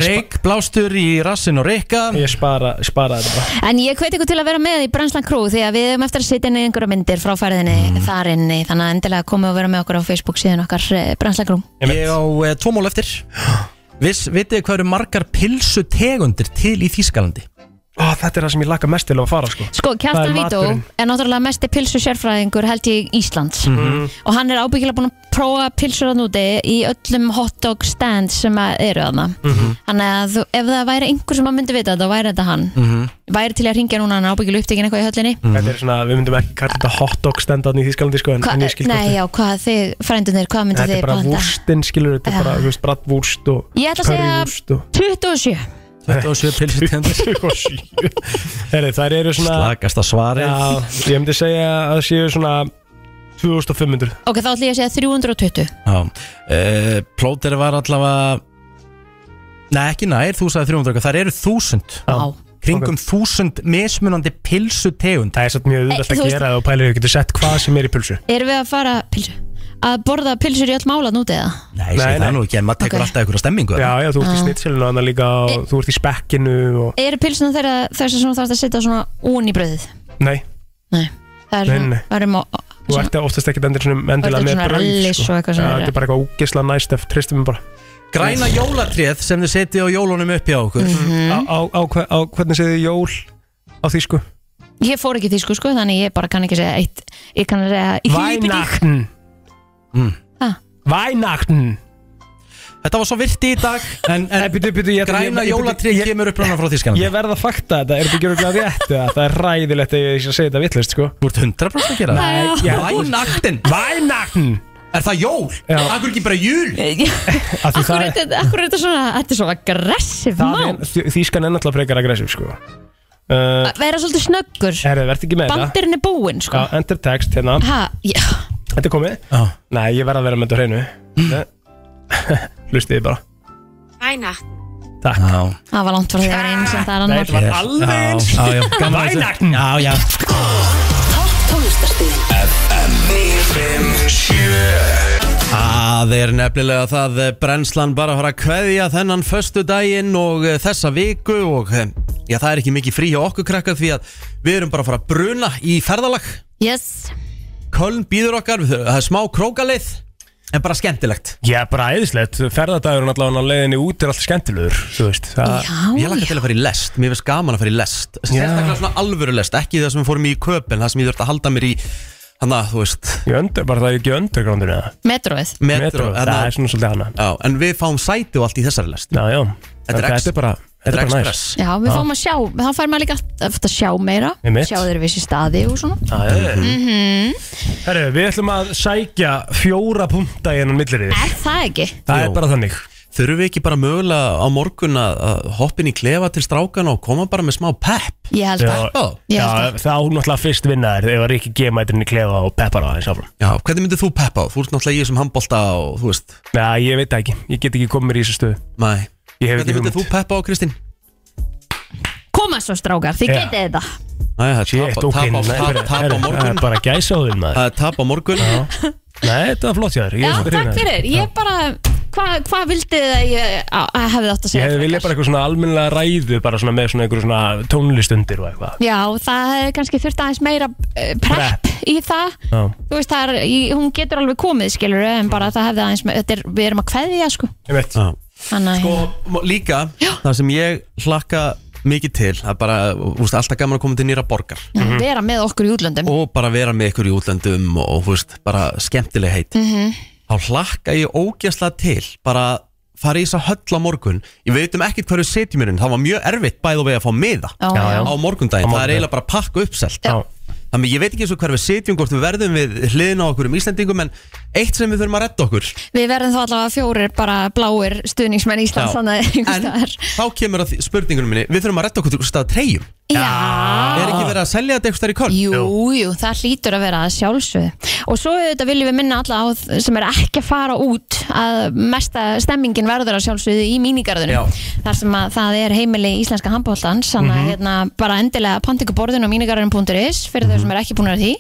Reik blástur í rassin og reikka
Ég spara, spara þetta bara
En ég hveit ykkur til að vera með í Branslan Crew því að við höfum eftir að sitja inn í einhverja myndir frá færðinni þar inni þannig að endilega komið og vera með okkur á Facebook síðan okkar Branslan Crew
Ég á eh, tvo mól eftir Viss, vitið þið hvað eru margar pilsutegundir til í Þýskalandi?
Ó, þetta er það sem ég laka mest til að fara sko
Sko, Kjartan Vító er náttúrulega mesti pilsu sérfræðingur held ég Íslands
Mhm.
og hann er ábyggilega búin að prófa pilsur að núti í öllum hotdog stands sem að eru þarna
Mhm.
Þannig að þú- ef það væri einhver sem að myndi vita þetta, væri þetta hann Væri til í að ringja núna, hann er ábyggilega upptekinn eitthvað í höllinni
Þetta er svona, við myndum ekki kalla þetta hotdog standaðn í Þýsklandi sko en,
Hva,
en ég skil hvort
Nei,
þið-
já, hvað þið, frændunir, hvað myndi
Þetta
þið
er bara
panta?
vúrstin skilur, þetta
Já.
er bara, þú veist, brattvúrst og
Ég ætla að segja 27
27
[laughs]
pilsutegundir
27 Herri, þær eru svona
Slagasta svarið
Já, ég myndi segja að það séu svona 2500
Ok, þá ætla ég að segja 320
Já, uh, plóter var allavega Nei, ekki nær, þú sagði 300 eitthvað. Það eru 1000
Já.
Kringum 1000 mismunandi pilsutegund
Það er satt mjög
auðvelt að Eh, Þú veist- gera
það og pælir, þú getur sett hvað sem er í pulsu
Erum við að fara pilsu? Að borða pilsur í öll mála núti eða?
Nei, nei, það nú ekki, en maður tekur
Ok.
alltaf einhverja stemmingu
Já, já, þú ert í
Já.
snitsjölinu og annað líka
Eh.
og þú ert í spekkinu og...
Eru pilsuna þeirra þess að svona þarfst að setja svona ón í bröðið?
Nei,
Það er
Nei, nei.
Það er um að
þú ert oftast ekkert endur svona
Þú
endilega
ert
með
svona
brauð
rallis og eitthvað
Já,
svona.
Þetta er bara eitthvað úgesla næst ef tristum við bara
Græna jólatréð sem þið setið á jólunum uppi á okkur
Mm.
á, á, á, hve- á hvernig segðu jól á því sko
Ég fór ekki í þýsku sko, þannig ég bara kann ekki segja eitt Ég kann að segja í hlýpi dík
Weihnachten
Ha?
Weihnachten
Þetta var svo virti í dag En, en
byrju, byrju, Eh, ég,
Eh, Græna jólatré kemur upp frá Þýskalandi
Ég verð að fakta þetta, er þetta ekki örgulega rétt eða? Það er ræðilegt að ég sé að segja þetta vittlust sko
Þú ert 100% að gera
Nei,
það.
ég-
Vænaktin
Vænaktin
Er það jól?
Já.
Akkur ekki bara jól?
Af því
Akkur er
það-
þetta akkur er þetta svona, þetta er svo aggressiv
Það
mál
er- Þý- Þýskan er náttúrulega frekar aggressiv sko uh,
Að vera svolítið snöggur
Herri, verð ekki með þetta
Bandirinn er búinn sko
Já, enter text hérna
Ha, já,
Þetta er komið Nei, ég verð að vera með þetta á hreinu Eh, [laughs] Hlustið bara
Vænakt
Takk
Já
það var langt frá því að vera eins en það er
Nei,
annar
þetta var alveg eins
Já, já, gaman að þessu.
Vænaktin
Já, já
Tónlistarstöðin
FM 957
Það er nefnilega það eh, brennslan bara að fara að kveðja þennan föstu daginn og eh, þessa viku og eh, já, það er ekki mikið frí hjá okkur krakkar því að við erum bara að fara að bruna í ferðalag
Yes
Köln býður okkar, við þurfum- það er smá krókaleið en bara skemmtilegt
Já, bara æðislegt Ferðardagurinn allavega á leiðinni út er alltaf skemmtilegur Þú veist það...
Ég lakka til að fara í lest, mér finnst gaman að fara í lest Sérstaklega svona alvöru lest, ekki það sem við fórum í í köpen Það sem ég þurfti að halda mér í, hann að, þú veist
Í öndur, bara það er ekki undergroundinu eða
Metróið
Metro,
Metro,
þarna-
það er svona svolítið hana
Já, en við fáum sæti og allt í þessari lest
Já, já
Þetta er,
Þetta
ex,
er bara- þetta er bara næs.
express
Já, við fáum að sjá, þá fær maður líka eftir að sjá meira
Einmitt.
Sjá þeir vissi staði og svona
Já, já, já.
Mhm.
Herru, við ætlum að sækja fjóra punta í hennan millir
Er það ekki?
Það er bara þannig
Þurfum við ekki bara mögulega á morgun að að hoppa inn í klefa til strákan og koma bara með smá pepp?
Ég held
Já,
það Ég held
já,
það
þá náttúrulega fyrst vinnaðir ef að Rikki gemætirinn í klefa og peppar á aðeins áfram
Já, hvernig myndir þú peppa á? Þú ert náttúrulega í þessum handbolta og þú veist
Já, ég veit það ekki, ég get ekki komið mér í þessu stöðu
Nei
Ég hef
Hvernig
ekki
myndir þú peppa á, Kristín?
Koma svo strákar, þið
Já.
getið þetta
Nei, það er
Shit,
tap á-
ok,
tap á-
nei,
tap-
fyrir-
tap á
herru, það
morgun
er bara gæsa á þinn maður
Það er tap á morgun
Já. Nei, þetta var flott hjá þér Ég
Já,
er svolítið
takk
hrifinn af þér.
fyrir, ég bara Hvað hva vildið þið að ég á, að hefði átt að
Ég
segja?
hefði viljað bara eitthvað svona almennilega ræðu bara svona með svona einhverju svona tónlistundir og eitthvað
Já, það hefði kannski þurft aðeins meira eh, prep í það
Já, Mm.
Þú veist, það er, í- hún getur alveg komið, skilur En bara það hefði aðeins, me- þetta er, við erum að kveðja, sko
ég veit
Þannig, sko,
Mo- Líka, það sem ég hlakka mikið til Það er bara, þú veist, alltaf gaman að koma til nýra borgar
hérna,
mhm.
vera með okkur í útlöndum
Og bara vera með ykkur í útlöndum og, þú veist, bara skemmtileg heit
Mhm.
þá hlakka ég ógjastlega til bara að fara í þess að höll á morgun ég veit um ekkert hverju setjum minn það var mjög erfitt bæð og veið að fá miða
Já, já.
á
Á
morgundaginn, það er
morgundaginn.
eiginlega bara pakka uppselt þannig ég veit ekki eins og hver við setjum hvort við verðum við hliðin á okkur um Íslendingum en eitt sem við þurfum að redda okkur
Við verðum þá allavega fjórir bara bláir stuðningsmenn Íslands
Já.
þannig að einhvers
En-
staðar.
þá kemur að því- spurningunum minni, við þurfum að redda okkur til stað treyjum
Já,
er ekki
að vera að selja þetta eitthvað í köln?
Ah. Jú, jú, það hlýtur að vera að sjálfsögðu og svo þetta viljum við minna alla á þ- sem er ekki að fara út að mesta stemmingin verður að sjálfsögðu í mínigarðinu þar sem að það er heimili íslenska handbóltans þannig að
Mhm.
hérna bara endilega pantingu borðinu á mínigarðinu.is fyrir þau sem er ekki búin að því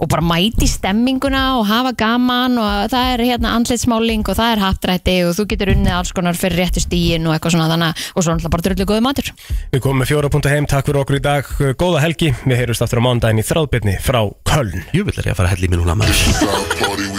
og bara mæti stemminguna og hafa gaman og það er hérna andlitsmáling og það er hattrætti og þú getur unnið alls konar fyrir réttu stíin og eitthvað svona þannig að- og svo náttúrulega bara drullu góðu matur
Við komum með fjóra púnta heim, takk fyrir okkur í dag, góða helgi, við heyrjumst aftur á mándaginn í þráðbyrni frá Köln.
Jú, vill er ég að fara að hella í mig núna maður.